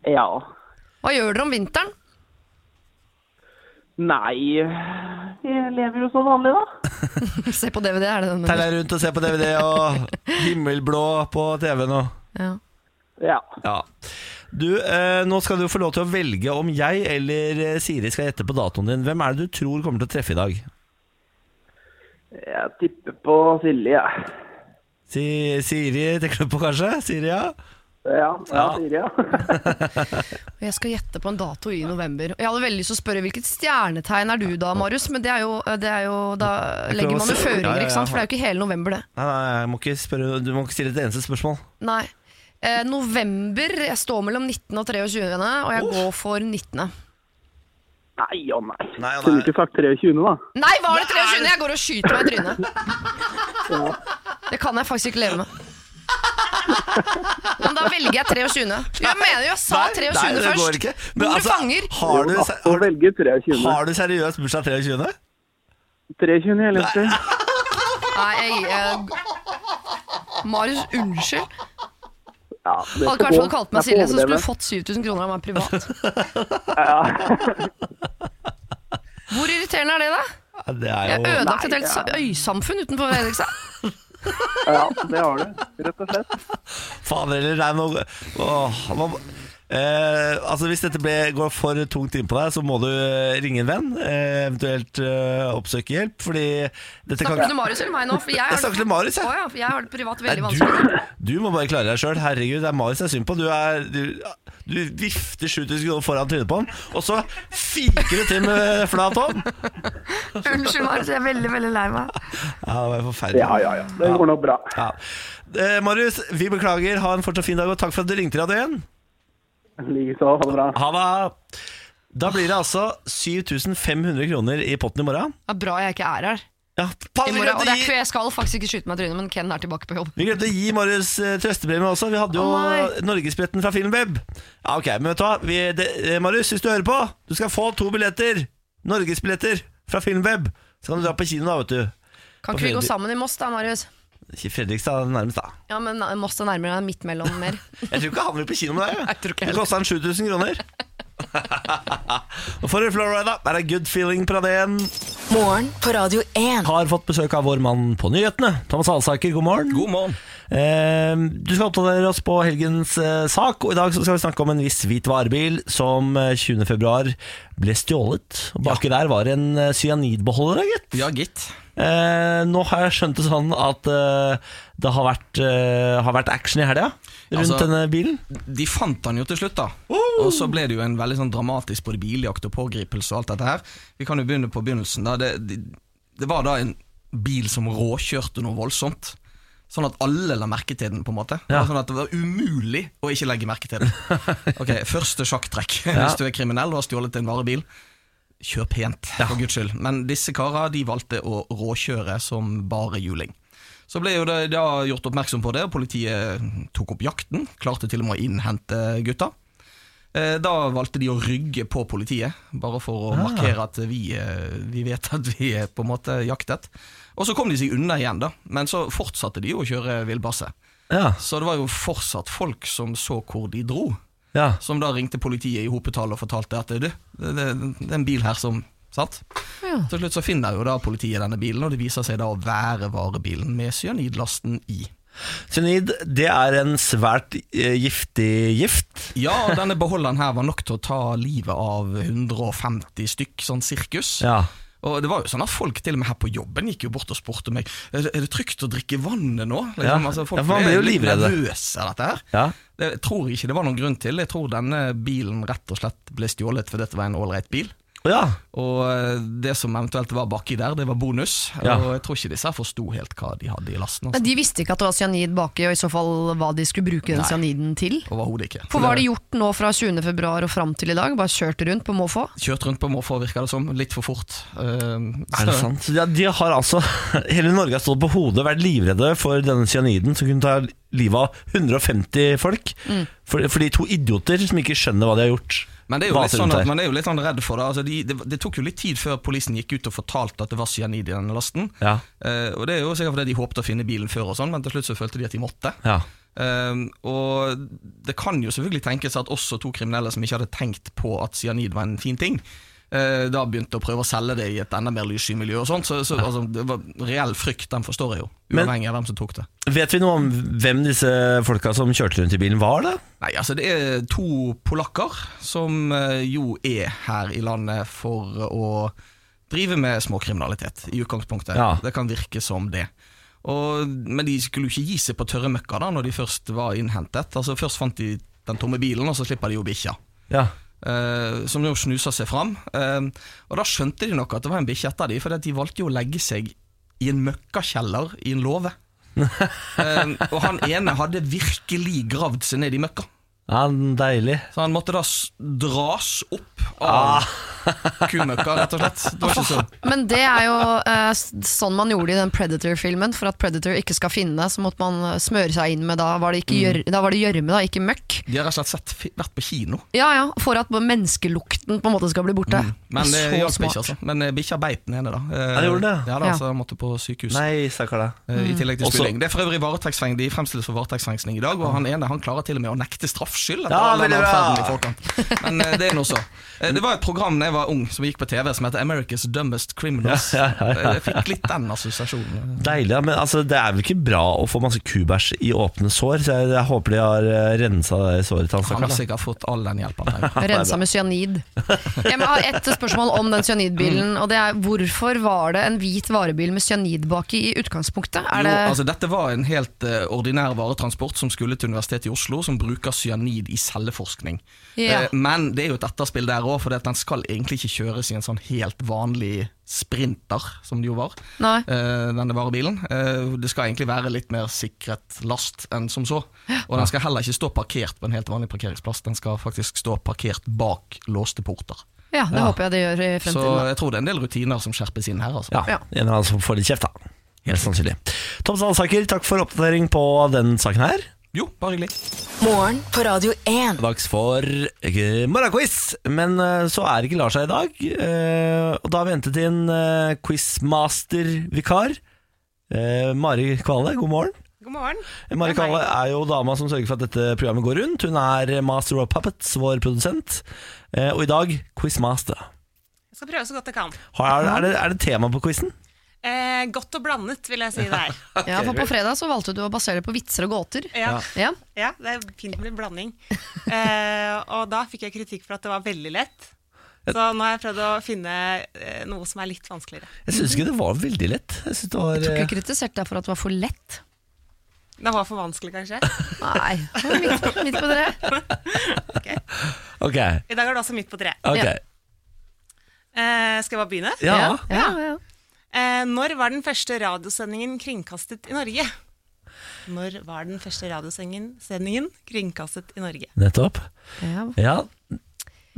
D: Ja.
B: Hva gjør dere om vinteren?
D: Nei Jeg lever jo som vanlig, da.
B: Se på DVD, er det den?
A: Teller rundt og ser på DVD og himmelblå på TV-en og
B: Ja.
D: Ja.
A: Ja. Du, eh, nå skal du få lov til å velge om jeg eller eh, Siri skal gjette på datoen din. Hvem er det du tror kommer til å treffe i dag?
D: Jeg tipper på Silje, jeg.
A: Si, Siri tenker du på, kanskje? Siri, ja?
D: Ja, ja,
A: Ja.
D: Silje. ja.
B: Og Jeg skal gjette på en dato i november. Og Jeg hadde veldig lyst til å spørre hvilket stjernetegn er du da, Marius? Men det er jo, eh, det er jo Da legger
A: prøver å
B: man
A: se- Ja,
B: jo
A: ja,
B: føringer,
A: ja.
B: ikke sant? For det er jo ikke hele november, det.
A: Nei, nei, jeg må ikke spørre, du må ikke stille et eneste spørsmål.
B: Nei. Eh, november Jeg står mellom 19. og 23., og jeg går for 19.
D: Nei og nei.
A: Nei og nei.
D: Kunne du ikke sagt 23, da?
B: Nei, var det 23.? Jeg går og skyter meg i trynet. Det kan jeg faktisk ikke leve med. Men da velger jeg 23. Jeg mener jo, jeg sa 23
A: Nei, det går
B: først.
A: ikke. Men
B: Hvor
A: altså,
B: fanger?
A: Har du,
D: Jo da,
A: se-
D: Å velge 23.
A: har du seriøst bursdag 23.?
D: 23 eller ikke?
B: Nei, jeg, jeg Marius, unnskyld.
D: Ja, det
B: Hadde ikke
D: skal
B: hvert
D: gå.
B: fall kalt meg
D: Jeg
B: Silje,
D: får
B: så skulle
D: overleve.
B: du fått 7000 kroner av meg privat. Hvor irriterende er det, da?
A: Ja, det er
B: Jeg
A: jo
B: ødelagt et helt sa- øysamfunn utenfor Fredrikstad.
D: Ja, det har du. Rett og slett.
A: Fader eller nei, nå åh, nå- eh, altså Hvis dette ble, går for tungt inn på deg, så må du eh, ringe en venn. Eh, eventuelt eh, oppsøke hjelp, fordi dette kan
B: Snakker du til Marius eller meg nå? For jeg har
A: Jeg snakker til Marius, jeg.
B: Å ja, for jeg har det privat veldig
A: Nei,
B: vanskelig.
A: Du, du må bare klare deg sjøl. Herregud, det er Marius det er synd på. Du, er, du, du vifter 7000 kroner foran trynet på han, og så fiker du til med flat hånd!
B: Unnskyld, Marius. Jeg er veldig, veldig lei meg.
A: Ja, det var forferdelig.
D: Ja, ja, ja. Det går nok bra.
A: Ja. Eh, Marius, vi beklager. Ha en fortsatt fin dag, og takk for at du ringte Radio 1.
D: Likeså. Ha det bra.
A: Ha det! Da blir det altså 7500 kroner i potten i morgen.
B: Det er bra jeg ikke er her.
A: Ja, faen,
B: I
A: vi
B: morgen,
A: glemte
B: og
A: å
B: det er
A: gi,
B: ikke, jeg skal faktisk ikke skyte meg i trynet, men Ken er tilbake på jobb.
A: vi glemte å gi Marius eh, trøstepremie også. Vi hadde jo
B: Å,
A: Norgesbilletten fra Filmweb. Ja, ok, men vet du hva? Vi, det, eh, Marius, hvis du hører på, du skal få to billetter. Norgesbilletter fra Filmweb. Så kan du dra på kino, da, vet du.
B: Kan ikke vi gå sammen i Moss da, Marius?
A: Ikke Fredrikstad nærmest, da.
B: Ja, men eh, Moss er nærmere midt mellom mer.
A: Jeg tror ikke han vil på kino med deg.
B: Jeg tror ikke
A: det
B: heller.
A: kosta han 7000 kroner. Nå får du Florida. Her er good feeling fra DN.
C: Morgen på Radio 1.
A: Har fått besøk av vår mann på nyhetene. Thomas Alsaker, god morgen.
E: God morgen.
A: Eh, Du skal oppdatere oss på helgens eh, sak, og i dag så skal vi snakke om en viss hvit varebil som eh, 20. februar ble stjålet. Og Baki der var en eh, cyanidbeholder, da, gitt.
E: Ja, gitt.
A: Eh, nå har jeg skjønt det sånn at eh, det har vært, eh, har vært action i helga rundt
E: Altså-
A: denne bilen.
E: De fant han jo til slutt, da. Og så ble det jo en veldig sånn dramatisk både biljakt og pågripelse og alt dette her. Vi kan jo begynne på begynnelsen. da Det, det, det var da en bil som råkjørte noe voldsomt. Sånn at alle la merke til den, på en måte. Det var
A: Ja.
E: Sånn at det var umulig å ikke legge merke til den. Ok, Første sjakktrekk hvis du er kriminell og har stjålet en varebil. Kjør pent, for guds skyld. Men disse kara de valgte å råkjøre som bare juling. Så ble jo det da gjort oppmerksom på det, og politiet tok opp jakten. Klarte til og med å innhente gutta. Eh, Da valgte de å rygge på politiet, bare for å markere at vi, eh, vi vet at vi er på en måte jaktet. Og så kom de seg unna igjen, da. Men så fortsatte de jo å kjøre villbasse.
A: Ja,
E: Så det var jo fortsatt folk som så hvor de dro.
A: ja.
E: Som da ringte politiet i hopetall og fortalte at du, det, det, det er en bil her som Sant?
B: Ja.
E: Til slutt så finner jo da politiet denne bilen, og det viser seg da å være varebilen med cyanidlasten i.
A: Cyanid det er en svært eh, giftig gift.
E: Ja, og denne beholderen her var nok til å ta livet av 150 stykk, sånn sirkus.
A: Ja.
E: Og det var jo sånn at Folk til og med her på jobben gikk jo bort og spurte meg Er det er det trygt å drikke vannet nå. Liksom, altså,
A: Ja. Ja, for man blir jo
E: litt
A: livredde.
E: nervøse av dette her.
A: Ja.
E: Det jeg tror ikke det var noen grunn til. Jeg tror denne bilen rett og slett ble stjålet fordi dette var en ålreit bil.
A: ja.
E: Og eh, det som eventuelt var baki der, det var bonus.
A: Ja.
E: Og jeg tror ikke disse her forsto helt hva de hadde i lasten.
B: Men
E: Altså.
B: De visste ikke at det var cyanid baki, og i så fall hva de skulle bruke den
E: Nei.
B: cyaniden til.
E: Overhodet ikke.
B: For
E: Så
B: hva har
E: det-
B: de gjort nå fra 20. februar og fram til i dag? Bare kjørt rundt på måfå?
E: Kjørt rundt på måfå, virka det som. Litt for fort. Ehm,
A: Er det sånn? sant? Ja, de har altså, hele Norge har stått på hodet og vært livredde for denne cyaniden som kunne ta livet av 150 folk. For, for de to idioter som ikke skjønner hva de har gjort.
E: Men det er jo litt
A: vaser rundt
E: sånn at
A: her.
E: man er jo litt sånn redd for det. Altså de, det. Det tok jo litt tid før politien gikk ut og fortalte at det var cyanid i denne lasten.
A: Ja.
E: Eh, og det er jo sikkert fordi de håpte å finne bilen før, og sånn, men til slutt så følte de at de måtte.
A: Ja.
E: Eh, og det kan jo selvfølgelig tenkes at også to kriminelle som ikke hadde tenkt på at cyanid var en fin ting, eh, da begynte å prøve å selge det i et enda mer lyssky miljø og sånt. Så, så altså, det var reell frykt, den forstår jeg jo.
A: Men-
E: Uavhengig av hvem som tok det.
A: Vet vi noe om hvem disse folka som kjørte rundt i bilen var, da?
E: Nei, altså Det er to polakker som eh, jo er her i landet for å drive med småkriminalitet, i utgangspunktet.
A: Ja.
E: Det kan virke som det. Og, men de skulle jo ikke gi seg på tørre møkka da når de først var innhentet. Altså Først fant de den tomme bilen, og så slipper de jo bikkja.
A: Ja.
E: eh, som nå snuser seg fram. Eh, og da skjønte de nok at det var en bikkje etter dem, for de valgte jo å legge seg i en møkkakjeller i en låve. Eh, og han ene hadde virkelig gravd seg ned i møkka.
A: ja deilig.
E: Så han måtte da s- dras opp
A: Ah.
E: av kumøkka, rett og slett. Det var ikke så
B: Men det er jo eh, s- sånn man gjorde i den Predator-filmen. For at Predator ikke skal finne, så måtte man eh, smøre seg inn med da var det ikke
E: Mm.
B: gjør- da var det gjørme, da, ikke møkk.
E: De har rett og slett sett, fi- vært på kino.
B: Ja ja, for at menneskelukten på en måte skal bli borte.
E: Mm. Men det
B: Så
E: hjalp
B: smart.
E: ikke, altså. Men eh, bikkja beit den ene, da. Eh,
A: Ja, det gjorde det.
E: Ja da,
B: Ja.
E: så han måtte på sykehus.
A: Nei, stakkar deg.
E: eh, I tillegg til
A: Også-
E: spilling. Det er for øvrig varetektsfengsling. De fremstilles for varetektsfengsling i dag, og han ene han klarer til og med å nekte straffskyld. etter
A: Ja,
E: all den
A: veldig bra.
E: avferden i forkant. Men eh, det er nå så. Eh, Det var et program da jeg var ung som gikk på TV som heter America's Dumbest Criminals.
A: Ja, ja, ja, ja.
E: Eh, Jeg fikk litt den assosiasjonen.
A: Deilig, ja, men altså, det er vel ikke bra å få masse kubæsj i åpne sår, så jeg, jeg håper de har eh, rensa det såret til han
E: Han
A: stakkar.
E: har
A: da.
E: sikkert fått all den hjelpen han trenger.
B: Rensa med cyanid. Jeg må ha ett spørsmål om den cyanidbilen.
E: Mm.
B: Og det er, hvorfor var det en hvit varebil med cyanid baki i utgangspunktet? Er det,
E: Jo, altså Dette var en helt eh, ordinær varetransport som skulle til Universitetet i Oslo, som bruker cyanid i celleforskning.
B: Ja.
E: Eh, men det er jo et etterspill der òg, for den skal egentlig ikke kjøres i en sånn helt vanlig sprinter, som det jo var,
B: Nei.
E: eh, denne varebilen. Eh, det skal egentlig være litt mer sikret last enn som så. Og den skal heller ikke stå parkert på en helt vanlig parkeringsplass, den skal faktisk stå parkert bak låste porter.
B: ja, det håper jeg det gjør i
E: Så
B: fremtiden.
E: jeg tror det er en del rutiner som skjerpes inn her, altså.
A: Ja,
B: Ja.
A: en eller annen som får litt kjeft, da. Helt sannsynlig. Tom Sandsaker, takk for oppdatering på den saken her.
E: Jo, bare hyggelig.
C: Morgen på Radio 1.
A: Dags for eh, morgenquiz, men eh, så er ikke Lars her i dag. eh, Og da har vi hentet inn eh, quizmaster-vikar. eh, Mari Kvale, god morgen.
F: God morgen.
A: Eh, Mari Kvale er jo dama som sørger for at dette programmet går rundt. Hun er eh, master of puppets, vår produsent. Eh, Og i dag quizmaster.
F: Jeg skal prøve så godt jeg kan.
A: Har- Er det, er det tema på quizen?
F: Eh, godt og blandet, vil jeg si det er.
E: eh,
B: Ja, for på fredag så valgte du å basere det på vitser og gåter.
F: Ja,
B: Ja.
F: ja det er fint med blanding. Eh, og da fikk jeg kritikk for at det var veldig lett. Så nå har jeg prøvd å finne eh, noe som er litt vanskeligere.
A: Jeg syns ikke det var veldig lett. Jeg synes det var
B: Du
A: eh,
B: ikke kritisert deg for at du var for lett.
F: Det var for vanskelig, kanskje.
B: Nei, det var midt, midt på det.
A: eh, Ok.
F: I dag er det også midt på treet.
A: ok.
B: Ja.
F: Eh, skal jeg bare begynne?
A: Ja.
B: ja, ja.
F: Eh, når var den første radiosendingen kringkastet i Norge? Når var den første radiosendingen sendingen kringkastet i Norge?
A: nettopp.
B: ja.
A: Ja.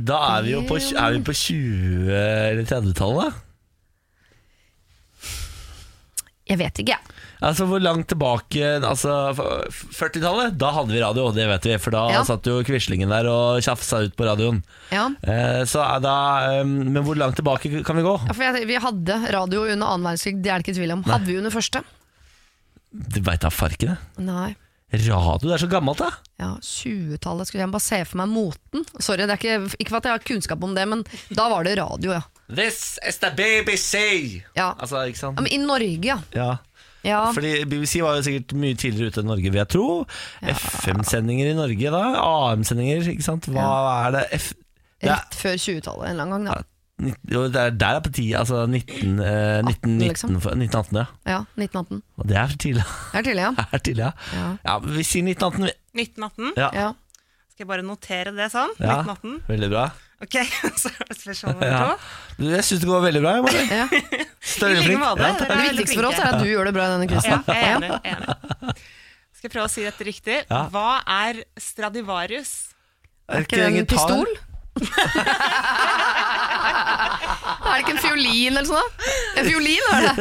A: Da er vi jo på, er vi på 20- eller 30-tallet. da?
B: Jeg vet ikke, jeg.
A: Altså Hvor langt tilbake Altså f- 40-tallet? Da hadde vi radio, det vet vi. For da
B: Ja.
A: satt jo Quislingen der og tjafsa ut på radioen.
B: Ja.
A: Eh, så er da eh, Men hvor langt tilbake kan vi gå?
B: Ja, for jeg, vi hadde radio under annen verdenskrig, det er det ikke tvil om. Hadde vi under første?
A: Du veit da farken, jeg.
B: Nei.
A: Radio, det er så gammelt, da.
B: Ja, 20-tallet skulle jeg bare se for meg moten. Sorry, det er ikke, ikke for at jeg har kunnskap om det, men da var det radio, ja.
A: This is the BBC!
B: Ja,
A: Altså, ikke
B: ja
A: sant?
B: men I Norge, ja.
A: Ja.
B: ja.
A: Fordi BBC var jo sikkert mye tidligere ute enn Norge, vil jeg tro. FM-sendinger i Norge, da. AM-sendinger, ikke sant. Hva er det F... Det er,
B: Rett før 20-tallet en eller annen gang, da.
A: nitt- jo, Der, der er partiet, altså 19, eh, 19,
B: 18, liksom.
A: 19, 1918, ja.
B: Ja, 1918.
A: Og det er for tidlig.
B: Det er tidlig, ja.
A: Det er tidlig, ja.
B: Ja.
A: ja. men Vi sier 1918, vi.
F: 1918.
A: Ja.
B: ja.
F: Skal jeg bare notere det sånn?
A: Ja.
F: 1918.
A: Veldig bra.
F: Ok, så er det spørsmål nummer
A: Ja.
F: to.
A: Du, Jeg syns det går veldig bra. Jeg,
B: ja.
F: I like
A: Ja,
F: måte. Dere
A: takk.
F: er
B: Det
F: veldig
B: viktigste for oss
F: flinke.
B: er at du gjør det bra i denne
F: Ja,
B: quizen.
F: jeg er enig. Jeg er enig. Skal jeg prøve å si dette riktig?
A: Ja.
F: Hva er Stradivarius?
A: Er
B: Er det ikke
A: en
B: en
A: gitar?
B: pistol? er det ikke en fiolin eller sånn? da? En fiolin er det.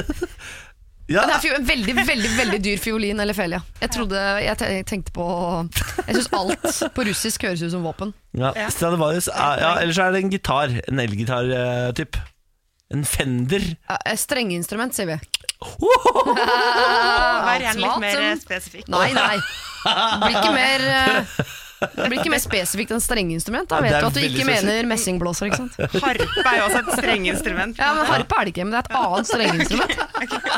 A: Ja,
B: Det er fio- en veldig, veldig veldig dyr fiolin eller fel, ja. Jeg trodde, jeg te- jeg tenkte på Jeg syns alt på russisk høres ut som våpen.
A: ja. Stradivarius. er- Ja, ellers er det en gitar. En elgitar-typ. En Fender.
B: Ja, eh, Strengeinstrument, sier vi.
F: Vær gjerne litt
B: Automat,
F: mer
B: som-
F: spesifikk.
B: Nei, nei. Det blir ikke mer eh, det blir ikke mer spesifikt enn strengeinstrument. Da vet
A: Det er
B: du at du
A: veldig
B: ikke
A: spesifikt.
B: mener messingblåser. ikke sant?
F: Harpe er jo også et strengeinstrument.
B: Ja, men Harpe er det ikke, men det er et annet strengeinstrument.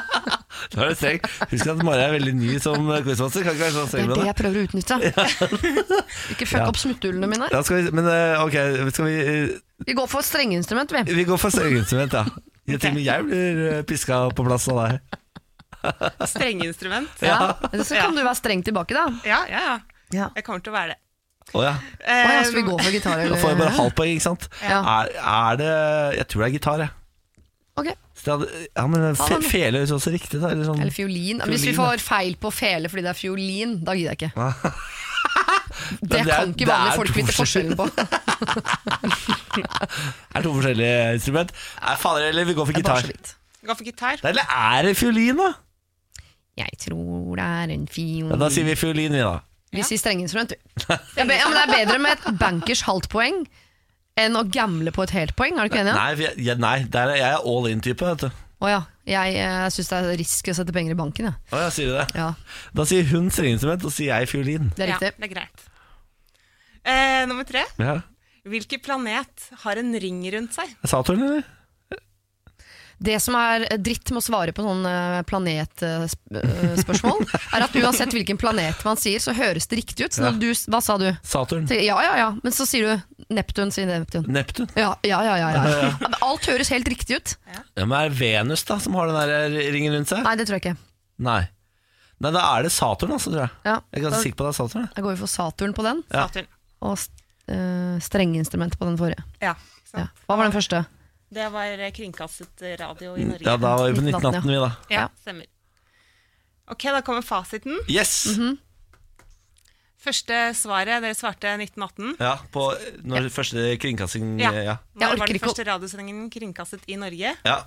A: Nå er det streng. Husk at Mari er veldig ny som quizmaster. Kan ikke være så
B: Det
A: streng
B: er
A: med
B: det
A: det.
B: jeg prøver å utnytte. Ikke fuck opp smutthullene mine.
A: Ja, skal vi, men eh, ok, skal vi eh,
B: Vi går for strengeinstrument, vi.
A: Vi går for strengeinstrument, ja. Jeg, til og med jeg blir eh, piska på plass av deg.
F: Strengeinstrument.
B: Ja. Så
F: Ja.
B: kan du være streng tilbake, da.
F: Ja, ja, ja.
B: Ja.
F: Jeg kommer til å være det.
A: Å
F: Ehm,
A: ja.
B: Å, ja, skal vi gå for gitar,
A: Da får jeg bare
B: eller?
A: halvt poeng, ikke sant?
B: Eh, Ja.
A: Er, er det Jeg tror det er gitar, jeg.
B: Ok.
A: Så jeg hadde- Ja, men eh, fe,
B: den.
A: fele høres også riktig ut, da. Eller sånn.
B: Eller fiolin. Hvis vi
A: Fiolin,
B: får feil på fele fordi det er fiolin, da gidder jeg ikke.
A: Det
B: Det
A: er-
B: kan ikke
A: det
B: vanlige
A: er
B: folk vite
A: to
B: forskjellen på.
A: Er to forskjellige instrument. Nei, fader, eller vi går for
B: Det er bare
A: gitar.
B: så vidt.
F: Gå for gitar.
A: Nei, Eller er det fiolin, da?
B: Jeg tror det er en
A: Ja,
B: fiolin
A: da sier vi fiolin, vi, da.
B: Vi sier strengeinstrument. vi. Ja, men ja, men det er bedre med et bankers halvt poeng enn å gamble på et helt poeng. Er du ikke enig?
A: Nei, for jeg, jeg- nei der er, jeg er all in-type, vet du.
B: Å ja. Jeg eh, syns det er risk å sette penger i banken, jeg.
A: Å ja, sier du det?
B: Ja.
A: Da sier hun strengeinstrument, og sier jeg fiolin.
B: det er
F: Ja,
B: riktig.
F: det er greit. Eh, nummer tre.
A: Ja.
F: Hvilken planet har en ring rundt seg?
A: Saturn, eller?
B: Det som er dritt med å svare på sånne planetspørsmål, er at uansett hvilken planet man sier, så høres det riktig ut. Så når du, hva sa du?
A: Saturn.
B: Så jeg, Ja, ja, ja. Men så sier du Neptun, sier Neptun.
A: Neptun.
B: Ja, ja, ja. ja, ja. Men Alt høres helt riktig ut.
A: Ja, men er det Venus, da, som har den der eh, ringen rundt seg?
B: Nei, det tror jeg ikke.
A: Nei. Nei, da er det Saturn, altså, tror jeg.
B: Ja,
A: Jeg er
B: da,
A: ganske sikker på det er Saturn. jeg.
B: da går vi for Saturn på den,
A: Ja.
F: Saturn.
B: og uh, strengeinstrumentet på den forrige.
F: Ja.
B: Ja.
F: ikke sant?
B: Hva var den første?
F: Det var eh, kringkastet
B: Mm,
F: radio i Norge.
A: Ja, da var vi på
B: 1918,
A: 1918, vi, da.
F: Ja, stemmer. Ok, da kommer fasiten.
A: Yes!
B: Mhm.
F: Første svaret, dere svarte 1918.
A: Ja, på når første kringkasting
F: Ja.
A: ja. ja.
F: Nå
B: Jeg orker
F: var den
B: ikke å-
F: første radiosendingen kringkastet i Norge.
A: ja.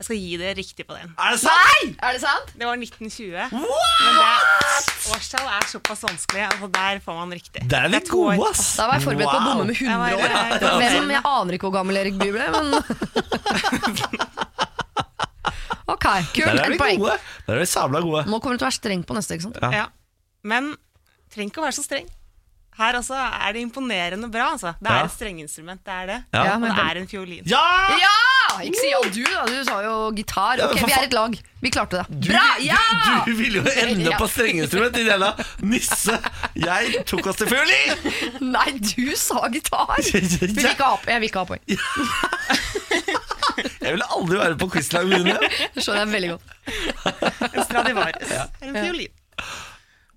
F: Jeg skal gi det riktig på den.
A: Er det sant?!
B: Er det sant?
F: Det var 1920. Men det årstall er såpass vanskelig, altså der får man riktig.
A: Der er vi
F: Det to år.
A: gode, ass!
B: Da var jeg forberedt på å bomme med
F: Jeg var-
B: 100 år.
F: jeg-
B: jeg. Hvem, jeg aner ikke hvor gammel Erik Bye ble, men Ok,
A: Der
B: kult.
A: er
B: Ett
A: vi
B: poeng.
A: gode! Der er vi sabla gode.
B: Nå kommer du til å være streng på neste. ikke sant?
A: Ja.
F: Ja. Men trenger ikke å være så streng. Her altså er det imponerende bra. Altså. Det er
A: Ja.
F: et strengeinstrument, det er det.
A: Ja.
B: Ja,
F: Og
B: men-
F: det er en fiolin.
A: Ja!
B: Ja! Ikke si ja du, da. Du sa jo gitar. Ok,
A: men for
B: Vi
A: faen.
B: er et lag. Vi klarte det. Bra! Ja!
A: Du ville jo ende på strengeinstrument, din jævla nisse! Jeg tok oss til fiolin!
B: Nei, du sa gitar! Vi vil ikke ha, jeg vil ikke ha poeng.
A: Jeg ville aldri være på quizlag med henne.
B: Det skjønner jeg veldig godt.
F: En Stradivarius er en fiolin.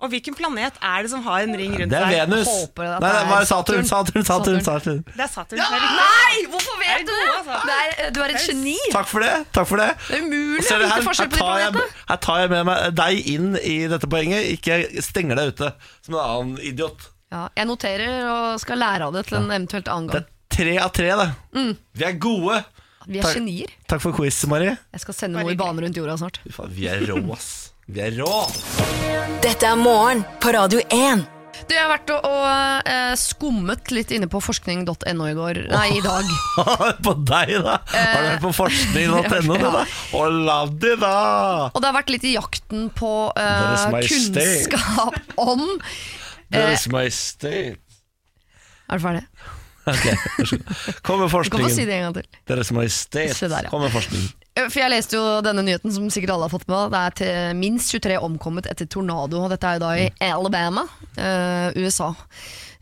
F: Og hvilken planet er det som har en ring rundt
A: Det er
F: seg?
A: Venus.
B: Håper at
A: Nei,
B: det
A: det
B: er
A: var Saturn, Saturn, Saturn.
B: Saturn.
A: Saturn.
F: Det er Saturn. som er riktig.
B: Nei, hvorfor vet
F: Er
B: du
F: det gode,
B: det?
F: altså?
B: det er, du er et geni.
A: Takk for det. takk for det
B: Det er umulig
A: Og
B: å
A: ser du
B: vite
A: her, her,
B: forskjell på de
A: tar jeg,
B: planetene.
A: her tar jeg med meg deg inn i dette poenget. Ikke stenger deg ute som en annen idiot.
B: Ja, jeg noterer og skal lære av det til en eventuelt annen
A: Det er
B: gang.
A: tre av tre, det.
B: Mm.
A: Vi er gode.
B: Vi er
A: Takk.
B: genier.
A: Takk for quiz, Mari.
B: Jeg skal sende noe i bane rundt jorda snart.
A: Fy faen, Vi er rå, ass. Vi er rå.
C: Dette er morgen på Radio 1.
B: Du, jeg har vært og, og eh, skummet litt inne på forskning.no i går. Nei, i dag.
A: på deg, da. Har du vært på
B: Eh,
A: forskning.no? da? Å, la det, da.
B: Og det har vært litt i jakten på
A: Deres
B: eh,
A: Majestet.
B: kunnskap om Eh.
A: Deres Majestet.
B: Er du ferdig?
A: Kom med
B: Du kan få si
A: forskningen.
B: det en gang til.
A: Deres Majestet.
B: Se der, ja.
A: Kom med forskningen.
B: For jeg leste jo denne nyheten som sikkert alle har fått med. Det er til minst 23 omkommet etter tornado. og Dette er jo da i Alabama, eh, USA.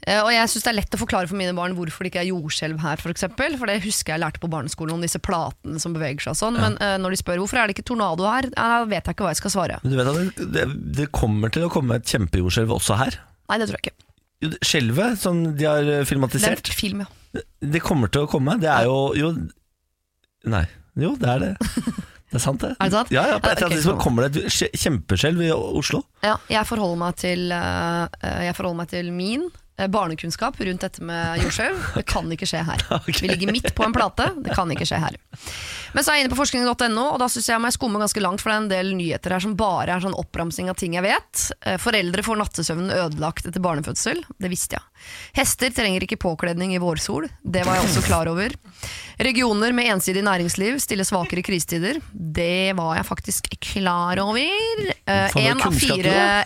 B: Eh, og jeg syns det er lett å forklare for mine barn hvorfor det ikke er jordskjelv her, f.eks. For, eksempel, for det husker jeg lærte på barneskolen om disse platene som beveger seg og sånn. Men eh, når de spør hvorfor er det ikke tornado her, ja, da vet jeg ikke hva jeg skal svare.
A: Men du vet at det, det, det kommer til å komme et kjempejordskjelv også her.
B: Nei, det tror jeg ikke.
A: Skjelvet som de har eh,
B: Det er
A: filmatisert,
B: en film, ja.
A: det kommer til å komme. Det er jo Jo, nei. Jo, det er det. Det er sant, det.
B: Er det sant?
A: Ja, ja, på
B: Ja,
A: et eller
B: ok,
A: annet tidspunkt
B: cool.
A: kommer det et skje- kjempeskjelv i Oslo.
B: Ja, jeg forholder meg til, eh, eh, jeg forholder meg til min eh, barnekunnskap rundt dette med jordskjelv. Det kan ikke skje her. Vi ligger midt på en plate. Det kan ikke skje her. Men så er jeg inne på forskning.no, og da syns jeg jeg må skumme ganske langt, for det er en del nyheter her som bare er sånn oppramsing av ting jeg vet. Eh, Foreldre får nattesøvnen ødelagt etter barnefødsel. Det visste jeg. Hester trenger ikke påkledning i vårsol. Det var jeg også klar over. Regioner med ensidig næringsliv stiller svakere i krisetider. Det var jeg faktisk klar over. Eh,
A: Faen, det er
B: En av
A: kunnskap du
B: fire
A: har.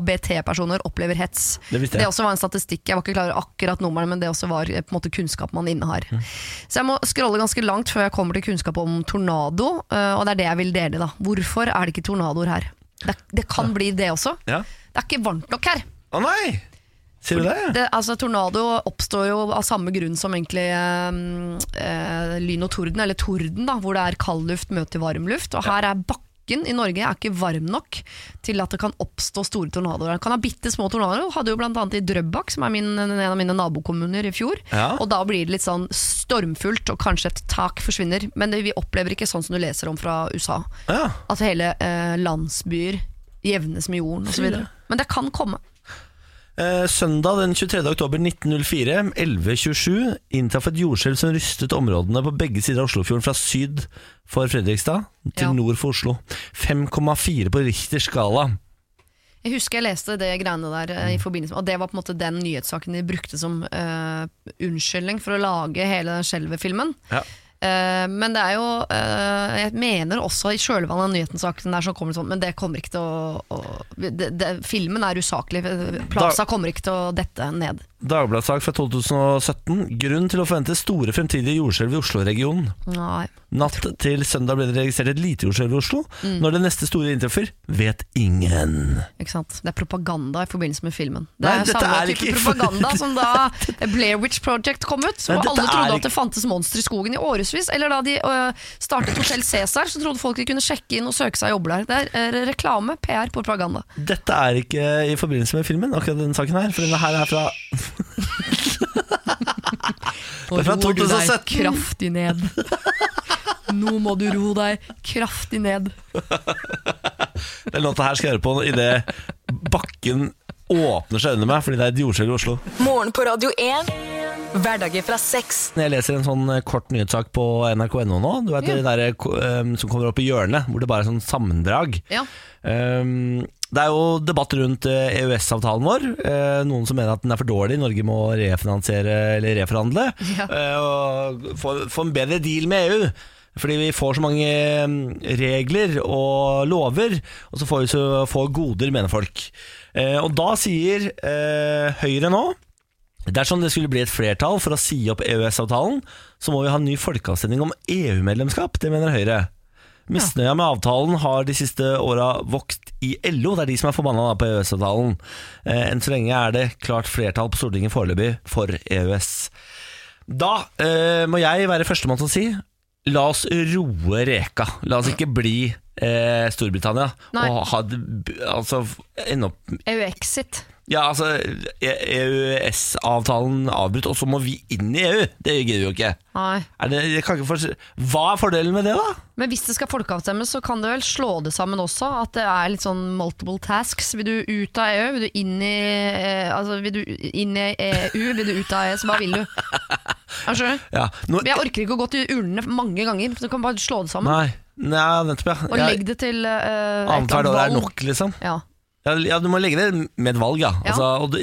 B: LHBT-personer opplever hets.
A: Det visste jeg.
B: også var en statistikk. Jeg var ikke klar over akkurat nummeret, men det også var eh, på en måte kunnskap man innehar.
A: Mm.
B: Så jeg må scrolle ganske langt før jeg kommer til kunnskap om tornado, eh, og det er det jeg vil dele. da. Hvorfor er det ikke tornadoer her? Det, det kan bli det også.
A: Ja.
B: Det er ikke varmt nok her.
A: Å nei! Sier du det?
B: Det, altså, tornado oppstår jo av samme grunn som egentlig ehm, eh, lyn og torden, eller torden, da, hvor det er kald luft møter varm luft. Og her er bakken i Norge er ikke varm nok til at det kan oppstå store tornadoer. Det kan ha bitte små tornadoer. Hadde jo bl.a. i Drøbak, som er min, en av mine nabokommuner, i fjor.
A: Ja.
B: Og da blir det litt sånn stormfullt, og kanskje et tak forsvinner. Men det, vi opplever ikke sånn som du leser om fra USA.
A: Ja.
B: At hele eh, landsbyer jevnes med jorden osv. Men det kan komme.
A: Eh, Søndag den 23. oktober 1904, 11.27, inntraff et jordskjelv som rystet områdene på begge sider av Oslofjorden fra syd for Fredrikstad til
B: Ja.
A: nord for Oslo. 5,4 på Richters skala.
B: Jeg husker jeg leste det greiene der eh, i forbindelse med Og det var på en måte den nyhetssaken de brukte som eh, unnskyldning for å lage hele skjelvet-filmen.
A: Ja.
B: Eh, men det er jo eh, Jeg mener også i kjølvannet av nyhetssaken der som kommer det sånn, men det kommer ikke til å, å det, det, Filmen er usaklig. Plaza kommer ikke til å dette ned.
A: Dagbladssak fra 2017. Grunn til å forvente store fremtidige jordskjelv i Oslo-regionen.
B: Nei.
A: Natt til søndag ble det registrert et lite jordskjelv i Oslo. Når det neste store inntreffer, vet ingen.
B: Ikke sant? Det er propaganda i forbindelse med filmen. Det
A: Nei,
B: er jo
A: dette
B: samme
A: er
B: type
A: ikke-
B: propaganda som da Blair Witch Project kom ut.
A: Nei,
B: Hvor
A: dette er
B: alle trodde
A: ikke-
B: at det fantes monstre i skogen i årevis. Eller da de øh, startet Hotell Cæsar, så trodde folk de kunne sjekke inn og søke seg jobb der. Det er øh, reklame, PR, propaganda.
A: Dette er ikke i forbindelse med filmen, akkurat denne saken her. For denne her er fra
B: Nå
A: Det er fra
B: ror du deg
A: 2017.
B: kraftig ned. Nå må du ro deg kraftig ned.
A: Den låta her skal jeg høre på idet bakken åpner seg under meg, fordi det er et jordskjelv i Oslo.
C: Morgen på Radio 1. Hverdager fra seks.
A: Når jeg leser en sånn kort nyhetssak på nrk.no nå, du vet det der eh, som kommer opp i hjørnet, hvor det bare er sånn sammendrag.
B: Ja.
A: Um, det er jo debatt rundt eh, EØS-avtalen vår. Eh, Noen som mener at den er for dårlig, Norge må refinansiere eller reforhandle.
B: Ja.
A: eh, Og få, få en bedre deal med EU. Fordi vi får så mange eh, regler og lover, og så får vi så få goder, mener folk. Eh, Og da sier eh, Høyre nå Dersom det skulle bli et flertall for å si opp EØS-avtalen, så må vi ha en ny folkeavstemning om EU-medlemskap, det mener Høyre. Misnøya med avtalen har de siste åra vokst i LO. Det er de som er forbanna da på EØS-avtalen. Eh, Enn så lenge er det klart flertall på Stortinget foreløpig for EØS. Da eh, må jeg være førstemann til å si la oss roe reka. La oss ikke bli eh, Storbritannia
B: Nei.
A: og ha, altså, ende opp
B: EU-exit.
A: ja, altså EØS-avtalen avbrutt, og så må vi inn i EU. Det gidder vi jo ikke.
B: Nei.
A: Er det, jeg kan ikke forstå- Hva er fordelen med det, da?
B: Men hvis det skal folkeavstemmes, så kan det vel slå det sammen også? At det er litt sånn multiple tasks. Vil du ut av EU? Vil du inn i, eh, altså, vil du inn i EU? Vil du ut av EØS? Hva vil du? Jeg skjønner.
A: Ja, nå,
B: Men jeg orker ikke å gå til urnene mange ganger, så du kan bare slå det sammen.
A: nei, nei, nettopp, ja.
B: Og
A: Ja,
B: legg det til uh,
A: Annethvert år er nok, liksom.
B: Ja.
A: Ja, ja, du må legge det med et valg, ja.
B: Ja.
A: Altså, og du,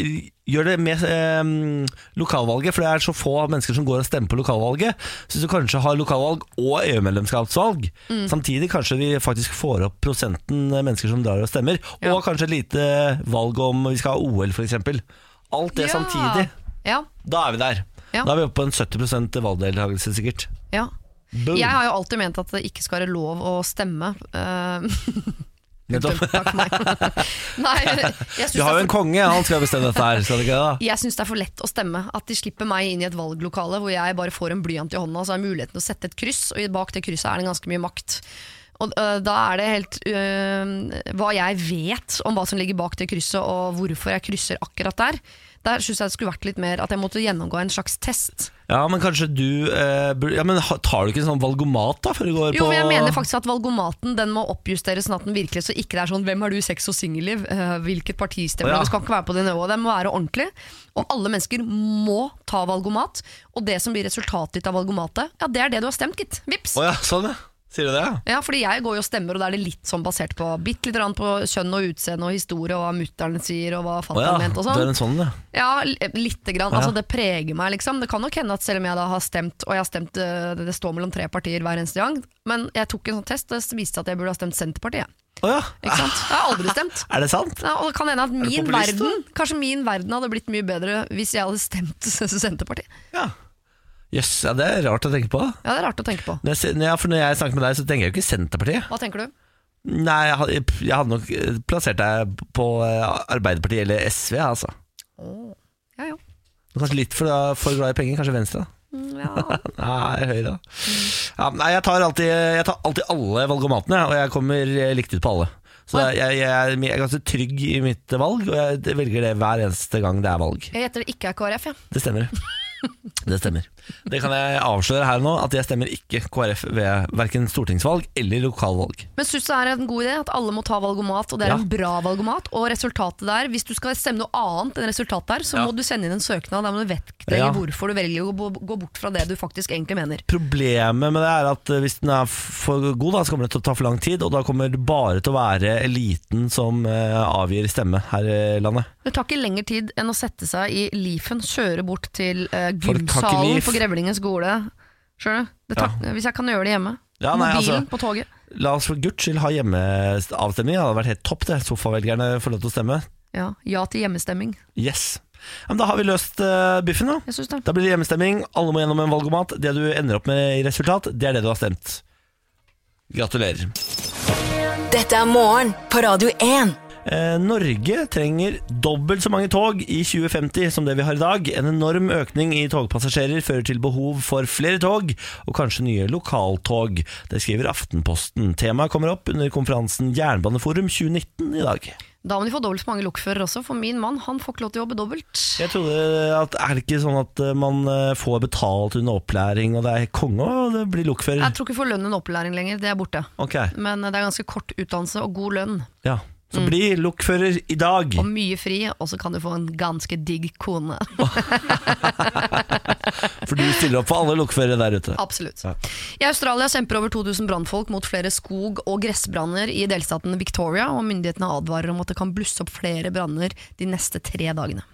A: gjør det med eh, lokalvalget, for det er så få mennesker som går og stemmer på lokalvalget. Så hvis du kanskje har lokalvalg og EU-medlemskapsvalg,
B: Mm.
A: samtidig kanskje vi faktisk får opp prosenten mennesker som drar og stemmer,
B: Ja.
A: og kanskje et lite valg om vi skal ha OL, f.eks. Alt det
B: Ja.
A: samtidig.
B: Ja.
A: Da er vi der.
B: Ja.
A: Da er vi oppe på en 70 valgdeltakelse, sikkert.
B: Ja.
A: Boom.
B: Jeg har jo alltid ment at det ikke skal være lov å stemme. eh,
A: Nettopp.
B: Takk for meg. Nei, jeg syns
A: Du har jo
B: det, er
A: en
B: for-
A: konge, han skal bestemme dette her, skal det ikke det? da?
B: jeg syns det er for lett å stemme. At de slipper meg inn i et valglokale hvor jeg bare får en blyant i hånda, og så har jeg muligheten til å sette et kryss, og bak det krysset er det ganske mye makt. Og øh, da er det helt øh, Hva jeg vet om hva som ligger bak det krysset, og hvorfor jeg krysser akkurat der, der syns jeg det skulle vært litt mer at jeg måtte gjennomgå en slags test.
A: Ja, men kanskje du eh, bur- Ja, men ha- Tar du ikke en sånn valgomat da før du går
B: Jo,
A: på
B: men jeg mener faktisk at valgomaten Den må oppjusteres sånn at den virkelig Så ikke det er sånn, hvem har du i sex og singelliv? Eh, Hvilket parti stemmer
A: Å, ja.
B: du? Det skal ikke være på det nivået, det må være ordentlig Og alle mennesker må ta valgomat Og det som blir resultatet ditt av valgomatet Ja, det er det du har stemt, gitt, vips
A: Å ja, sånn ja. Sier du det, ja?
B: ja, fordi jeg går jo og stemmer, og da er det litt sånn basert på Bitt litt grann på kjønn og utseende og historie Og hva mutteren sier, og hva
A: Å
B: fatteren
A: ja,
B: mente og
A: du
B: sånn
A: er en sånn, ja.
B: ja, li- lite grann. Altså,
A: Ja.
B: det preger meg, liksom. Det kan nok hende at selv om jeg da har stemt, og jeg har stemt eh, det står mellom tre partier hver eneste gang, men jeg tok en sånn test, og det viste at jeg burde ha stemt Senterpartiet.
A: Å ja.
B: Ikke sant? Jeg har aldri stemt.
A: Er det sant?
B: Ja, og det kan hende at min
A: populist, da?
B: verden Kanskje min verden hadde blitt mye bedre hvis jeg hadde stemt Senterpartiet.
A: Ja. Jøss, ja, det er rart å tenke på.
B: Ja, det er rart å tenke på.
A: Når jeg, ser- når jeg, for når jeg snakker med deg, så tenker jeg jo ikke Senterpartiet.
B: Hva tenker du?
A: Nei, jeg, had- jeg hadde nok eh, plassert deg på eh, Arbeiderpartiet eller SV, altså.
B: Ja, ja.
A: Kanskje litt for, for glad i penger, kanskje Venstre? da?
B: Mm, ja.
A: Nei, Høyre. da. Ja, nei, jeg tar, alltid, jeg tar alltid alle valgomatene, og jeg kommer eh, likt ut på alle. Så jeg, jeg, jeg, er- jeg er ganske trygg i mitt valg, og jeg velger det hver eneste gang det er valg.
B: Jeg gjetter det ikke er KrF, jeg.
A: Det stemmer. Det stemmer. Det kan jeg avsløre her nå, at jeg stemmer ikke KrF ved verken stortingsvalg eller lokalvalg.
B: Men syns du det er en god idé at alle må ta valgomat, og det er
A: Ja.
B: en bra valgomat? Og resultatet der, hvis du skal stemme noe annet enn resultatet der, så må du sende inn en søknad. Da må du vektlegge
A: Ja.
B: hvorfor du velger å gå, gå bort fra det du faktisk egentlig mener.
A: Problemet med det er at eh, hvis den er for god, da, så kommer det til å ta for lang tid, og da kommer det bare til å være eliten som eh, avgir stemme her i landet.
B: Det tar ikke lengre tid enn å sette seg i Leafen, kjøre bort til eh,
A: Folk har ikke
B: gymsalen
A: Leaf.
B: på Grevlingens skole. Skjønner du? Det tar, Hvis jeg kan gjøre det hjemme.
A: Ja, nei,
B: Mobilen
A: altså-
B: på toget.
A: La oss for guds skyld ha hjemmeavstemning, det hadde vært helt topp det. Sofavelgerne får lov til å stemme.
B: Ja, ja til hjemmestemming.
A: Yes. Ja, men da har vi løst eh, biffen, da.
B: Jeg syns det.
A: Da blir det hjemmestemming, alle må gjennom en valgomat. Det du ender opp med i resultat, det er det du har stemt. Gratulerer.
C: Dette er morgen på Radio 1.
A: Eh, Norge trenger dobbelt så mange tog i 2050 som det vi har i dag. En enorm økning i togpassasjerer fører til behov for flere tog, og kanskje nye lokaltog. Det skriver Aftenposten. Temaet kommer opp under konferansen Jernbaneforum 2019 i dag.
B: Da må de få dobbelt så mange lokførere også, for min mann han får ikke lov til å jobbe dobbelt.
A: Jeg trodde at Er det ikke sånn at eh, man eh, får betalt under opplæring, og det er konge og det blir
B: Jeg
A: lokfører?
B: tror ikke vi får lønn under opplæring lenger, det er borte.
A: Ok,
B: Men det er ganske kort utdannelse og god lønn,
A: ja. Så bli lokfører i dag!
B: og mye fri, og så kan du få en ganske digg kone.
A: For du stiller opp for alle lokførere der ute.
B: Absolutt.
A: Ja.
B: I Australia kjemper over 2000 brannfolk mot flere skog- og gressbranner i delstaten Victoria, og myndighetene advarer om at det kan blusse opp flere branner de neste tre dagene.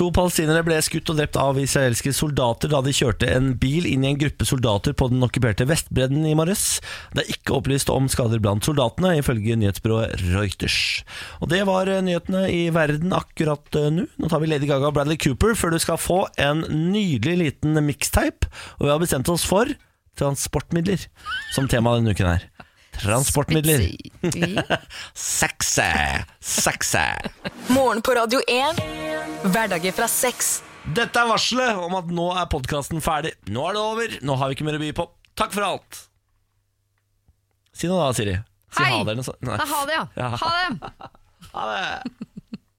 A: To palestinere ble skutt og drept av israelske soldater da de kjørte en bil inn i en gruppe soldater på den okkuperte Vestbredden i morges. Det er ikke opplyst om skader blant soldatene, ifølge nyhetsbyrået Reuters. Og det var eh, nyhetene i verden akkurat eh, nå. Nå tar vi Lady Gaga og Bradley Cooper før du skal få en nydelig liten mixtape, og vi har bestemt oss for transportmidler som tema denne uken her. Transportmidler.
B: Spitsi-
A: Sexy! Sexy!
C: Morgen på Radio 1. Hverdager fra seks.
A: Dette er varselet om at nå er podkasten ferdig. Nå er det over. Nå har vi ikke mer å by på. Takk for alt. Si noe da, Siri. Si
B: Hei.
A: ha det eller noe sånt. Nei.
B: Nei, Ha det, ja.
A: Ja.
B: Ha det!
A: Ha det.